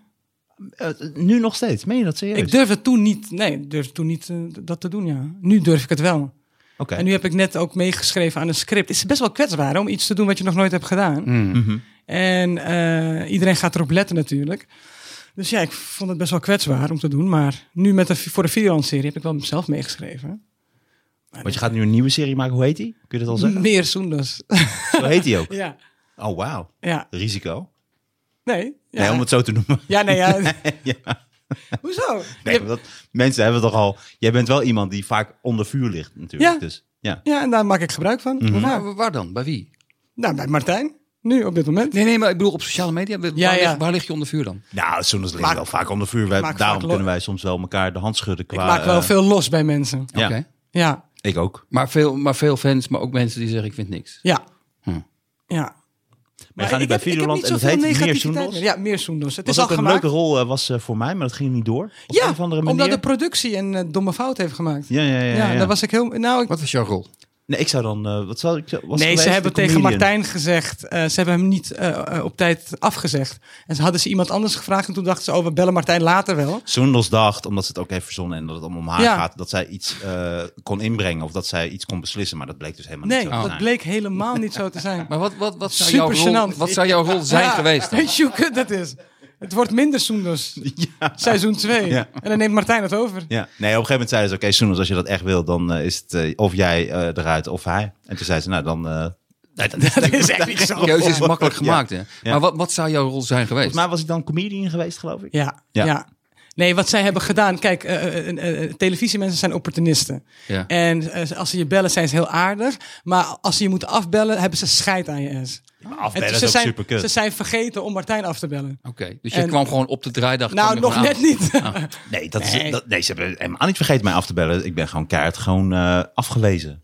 S3: Eh, nu nog steeds, meen je dat serieus?
S2: Ik durfde toen niet, nee, ik durfde toen niet eh, dat te doen, ja. Nu durf ik het wel.
S3: Oké.
S2: En nu heb ik net ook meegeschreven aan een script. Het is best wel kwetsbaar hè, om iets te doen wat je nog nooit hebt gedaan.
S3: Mhm.
S2: En eh, iedereen gaat erop letten natuurlijk. Dus ja, ik vond het best wel kwetsbaar om te doen. Maar nu met de, voor de freelance-serie heb ik wel zelf meegeschreven.
S3: Want je gaat nu een nieuwe serie maken, hoe heet die? Kun je dat al zeggen?
S2: Meer zoenders.
S3: Zo heet die ook.
S2: ja,
S3: Oh, wauw.
S2: ja.
S3: Risico.
S2: Nee. Ja,
S3: Nee, om het zo te noemen.
S2: ja nee, ja. Hoezo?
S3: Nee, want dat, mensen hebben toch al... Jij bent wel iemand die vaak onder vuur ligt natuurlijk.
S2: Ja.
S3: Dus, ja.
S2: Ja, en daar maak ik gebruik van.
S3: Mhm.
S2: nou,
S4: Waar, waar dan? Bij wie?
S2: nou, bij Martijn. Nu, op dit moment.
S4: Nee, nee, maar ik bedoel op sociale media. Waar,
S2: Ja, ja.
S4: Lig, waar lig je onder vuur dan?
S3: Nou, soms ligt
S2: Maak-
S3: wel vaak onder vuur. Wij,
S2: maak vaak
S3: daarom
S2: lo-
S3: kunnen wij soms wel elkaar de hand schudden
S2: Ik
S3: qua...
S2: maak wel
S3: eh,
S2: veel los bij mensen.
S3: Ja,
S4: Oké.
S2: Ja,
S3: ik ook.
S4: Maar, veel, maar veel fans, maar ook mensen die zeggen ik vind niks.
S2: ja.
S4: Hm.
S2: Ja.
S3: gaan nu
S2: ik
S3: bij
S2: heb- ik heb
S3: Videoland
S2: niet
S3: en dat
S2: zoveel
S3: heet Meer
S2: negativiteit
S3: Zoendels?
S2: meer. Ja, meer zoenders. Het
S3: Was
S2: is al
S3: ook een
S2: gemaakt.
S3: leuke rol eh, was eh, voor mij, maar dat ging niet door. Op
S2: ja,
S3: een of andere manier.
S2: omdat de productie een eh, domme fout heeft gemaakt.
S3: Ja, ja, ja.
S2: Ja,
S3: ja, ja.
S2: daar was ik heel. Nou, ik
S4: Wat was jouw rol?
S3: Nee, ik zou dan... eh, wat zou ik... Was het
S2: nee,
S3: geweest?
S2: ze hebben
S3: De
S2: tegen
S3: comedian.
S2: Martijn gezegd. eh, ze hebben hem niet eh, eh, op tijd afgezegd. En ze hadden ze iemand anders gevraagd. En toen dachten ze, oh, we bellen Martijn later wel.
S3: Soendels dacht, omdat ze het ook heeft verzonnen en dat het allemaal om haar
S2: Ja.
S3: gaat, dat zij iets eh, kon inbrengen of dat zij iets kon beslissen. Maar dat bleek dus helemaal
S2: Nee,
S3: niet zo te
S2: dat
S3: zijn.
S2: bleek helemaal niet zo te zijn.
S4: Maar wat, wat, wat, zou, jouw
S2: Super
S4: rol,
S2: gênant.
S4: wat zou jouw rol zijn
S2: Ja,
S4: geweest dan?
S2: Weet je hoe kut dat is? Het wordt minder Soenders.
S3: Ja.
S2: Seizoen 2.
S3: Ja.
S2: En dan neemt Martijn het over.
S3: Ja. Nee, op een gegeven moment zeiden ze, oké, Soendels, als je dat echt wil, dan eh, is het eh, of jij eh, eruit of hij. En toen zei ze, nou, dan eh, Nee, dat is-
S2: Dat is echt niet zo.
S4: De keuze is makkelijk gemaakt, hè?
S3: Ja.
S4: Maar wat, wat zou jouw rol zijn geweest?
S3: Volgens mij was ik dan comedian geweest, geloof ik.
S2: Ja, ja.
S3: Ja.
S2: Nee, wat zij hebben gedaan. Kijk, eh, eh, eh, eh, televisiemensen zijn opportunisten.
S4: Ja.
S2: En eh, als ze je bellen, zijn ze heel aardig. Maar als ze je moeten afbellen, hebben ze scheid aan je ass.
S3: Afbellen
S2: En
S3: is
S2: ze,
S3: ook
S2: zijn,
S3: superkut.
S2: ze zijn vergeten om Martijn af te bellen.
S4: Oké, dus je
S2: En-
S4: kwam gewoon op de draaidag. kwam
S2: nou,
S4: je
S2: nog
S4: gewoon
S2: net
S4: aan. Oh.
S2: niet.
S3: Nee, dat
S2: Nee.
S3: Is, dat, nee, ze hebben helemaal niet vergeten mij af te bellen. Ik ben gewoon keihard gewoon eh, afgelezen.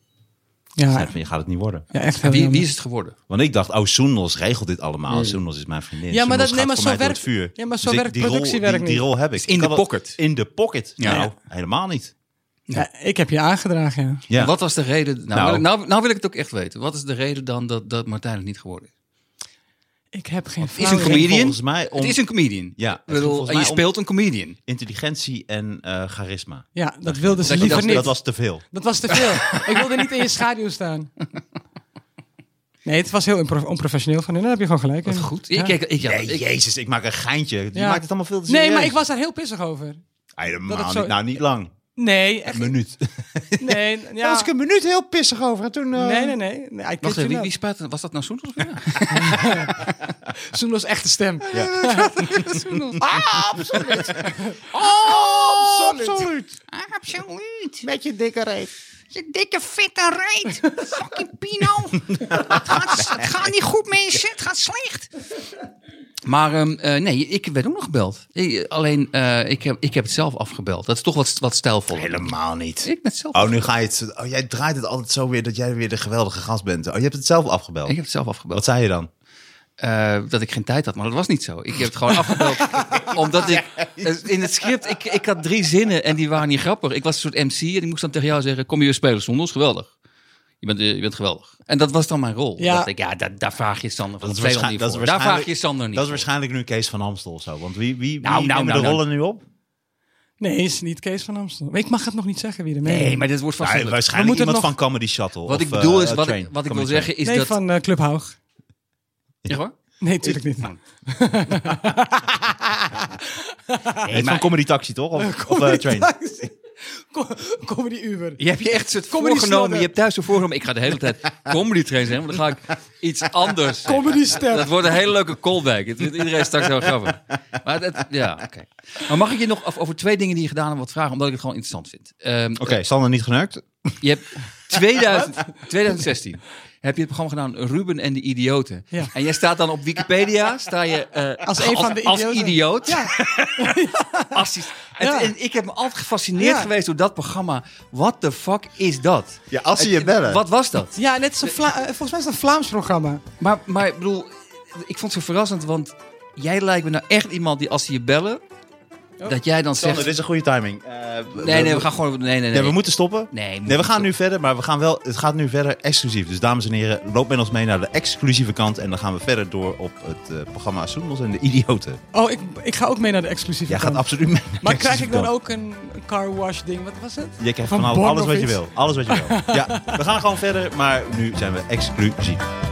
S3: Ze
S2: ja,
S3: zeiden van, je gaat het niet worden.
S2: ja, echt.
S4: En
S2: heel
S4: Wie,
S2: jammer.
S4: wie is het geworden?
S3: Want ik dacht, oh, Soendos regelt dit allemaal. Soendos is mijn vriendin.
S2: Hmm. Ja, maar dat-
S3: Soendos
S2: nee,
S3: gaat
S2: maar
S3: voor
S2: zo
S3: mij door
S2: werkt-
S3: het vuur.
S2: ja, maar zo
S3: Dus ik-
S2: werkt
S3: die rol-
S2: productiewerk
S3: die,
S2: niet.
S3: Die rol heb ik.
S4: Is in
S3: Ik
S4: de
S3: kan wel-
S4: pocket.
S3: In de pocket.
S4: Ja.
S3: Nou, helemaal niet.
S2: Ja, ik heb je aangedragen, ja.
S3: Ja.
S4: Wat was de reden? Nou,
S3: Nou.
S4: Wil ik, nou, nou wil ik het ook echt weten. Wat is de reden dan dat, dat Martijn het niet geworden is?
S2: Ik heb geen
S4: is
S2: flauw
S4: een
S2: idee.
S4: comedian?
S3: Volgens mij om
S4: Het is een comedian.
S3: Ja, het
S4: Ik
S3: ging
S4: bedoel,
S3: volgens
S4: en je
S3: mij om-
S4: speelt een comedian.
S3: intelligentie en eh, charisma.
S2: Ja, dat wilden ze
S4: Dat je
S2: liever
S3: dat,
S2: niet.
S3: dat was te veel.
S2: Dat was te veel. ik wilde niet in je schaduw staan. Nee, het was heel impro- onprofessioneel van hun. Daar heb je gewoon gelijk. in.
S4: Goed.
S2: Ja.
S4: Ik, ik, ik, ja,
S3: Nee,
S4: ik-
S3: jezus, ik maak een geintje. Je
S2: Ja.
S3: maakt het allemaal veel te serieus.
S2: Nee, maar ik was daar heel pissig over.
S3: Ah,
S2: dat
S3: helemaal
S2: het zo-
S3: niet, nou, niet lang.
S2: Nee, echt
S3: Een minuut.
S2: Nee, ja.
S3: Daar was ik een minuut heel pissig over. En toen... eh,
S2: Nee, nee, nee. nee ik
S4: Wacht
S2: kid
S4: even,
S2: you
S4: wie, wie
S2: not.
S4: spuit het? Was dat nou Soendels? of wie?
S2: Soendos echte stem.
S3: Ja.
S4: Soendels.
S3: Absoluut.
S5: Absoluut.
S3: Met je dikke reet.
S5: Je dikke vette reet. Fucking Pino. het, gaat, het gaat niet goed, mensen. Het gaat slecht.
S4: Maar ehm, eh, nee, ik werd ook nog gebeld. Ik- alleen, eh, ik, heb, ik heb het zelf afgebeld. Dat is toch wat, wat stijlvoller.
S3: Helemaal niet.
S4: Ik ben het zelf
S3: Oh, nu ga je het... Oh, jij draait het altijd zo weer dat jij weer de geweldige gast bent. Oh, je hebt het zelf afgebeld.
S4: Ik heb het zelf
S3: Wat
S4: afgebeld.
S3: zei je dan?
S4: Eh, dat ik geen tijd had, maar dat was niet zo. Ik heb het gewoon afgebeld. omdat ik eh, in het script, ik, ik had drie zinnen en die waren niet grappig. Ik was een soort MC en ik moest dan tegen jou zeggen: Kom je weer spelen, Soendels? Geweldig. Je bent, eh, je bent geweldig. En dat was dan mijn rol.
S2: Ja.
S4: Ja, dacht ik, ja daar, daar vraag je Sander van.
S3: Dat is
S4: Tweeland
S3: waarschijn-
S4: niet
S3: dat is
S4: voor. Daar vraag je
S3: waarschijnlijk-
S4: Sander niet.
S3: Dat is
S4: voor.
S3: waarschijnlijk nu Kees van Amstel of zo. Want wie, wie,
S4: Nou,
S3: wie
S4: nou,
S3: nemen
S4: nou,
S3: de
S4: nou.
S3: rollen nu op?
S2: Nee, is niet Kees van Amstel. Maar Ik mag het nog niet zeggen wie de
S4: Nee, maar dit wordt vast.
S3: Nou,
S4: wel leuk.
S3: waarschijnlijk
S2: We moeten
S3: iemand
S2: nog-
S3: van Comedy Shuttle.
S4: wat
S3: of,
S4: ik bedoel
S3: eh,
S4: is, wat,
S3: Train.
S4: ik, wat ik wil
S3: Comedy
S4: zeggen is
S2: Nee,
S4: dat.
S2: van eh, Club Haug.
S4: Ja, hoor.
S2: Nee, natuurlijk niet.
S3: Train. Nee, van Comedy Taxi, toch? Of, of eh, Train.
S2: Co- Comedy Uber.
S4: Je hebt je echt soort
S2: Comedy
S4: voorgenomen.
S2: snodder.
S4: Je hebt thuis zo voorgenomen. Ik ga de hele tijd comedy train zijn, want dan ga ik iets anders. zeggen.
S2: Comedy step.
S4: Dat wordt een hele leuke callback. Het vindt iedereen straks heel grappig. Maar, dat, ja, oké. maar mag ik je nog af- over twee dingen die je gedaan hebt wat vragen? Omdat ik het gewoon interessant vind. Ehm,
S3: Oké, Sander niet geneukt.
S4: Je hebt 2000, 2016 heb je het programma gedaan Ruben en de Idioten.
S2: Ja.
S4: En jij staat dan op Wikipedia, sta je eh,
S2: Als een van de
S4: als
S2: idioten.
S4: idioot. Fantastisch. En,
S2: Ja.
S4: en ik heb me altijd gefascineerd
S2: Ja.
S4: geweest door dat programma. What the fuck is dat?
S3: Ja, als ze je bellen.
S4: Wat was dat?
S2: Ja, net zo Vla- eh, volgens mij is dat een Vlaams programma.
S4: Maar, maar ik bedoel, ik vond het zo verrassend, want jij lijkt me nou echt iemand die als ze je bellen, dat jij dan
S3: Sander,
S4: zegt...
S3: dit is een goede timing. Eh,
S4: Nee, nee, we gaan gewoon... Nee, nee, nee.
S3: Nee, we moeten stoppen.
S4: Nee, we
S3: nee, we
S4: moeten
S3: gaan nu verder, maar we gaan wel, het gaat nu verder exclusief. Dus dames en heren, loop met ons mee naar de exclusieve kant. En dan gaan we verder door op het eh, programma Soendels en de Idioten.
S2: Oh, ik, ik ga ook mee naar de exclusieve
S3: Jij gaat
S2: kant.
S3: absoluut mee. naar de
S2: maar krijg ik
S3: exclusieve
S2: dan
S3: kant.
S2: ook een een car wash ding? Wat was het?
S3: Je krijgt
S2: van
S3: van alles,
S2: Born
S3: alles
S2: of
S3: wat je
S2: iets?
S3: wil. Alles wat je wil. Ja, we gaan gewoon verder, maar nu zijn we exclusief.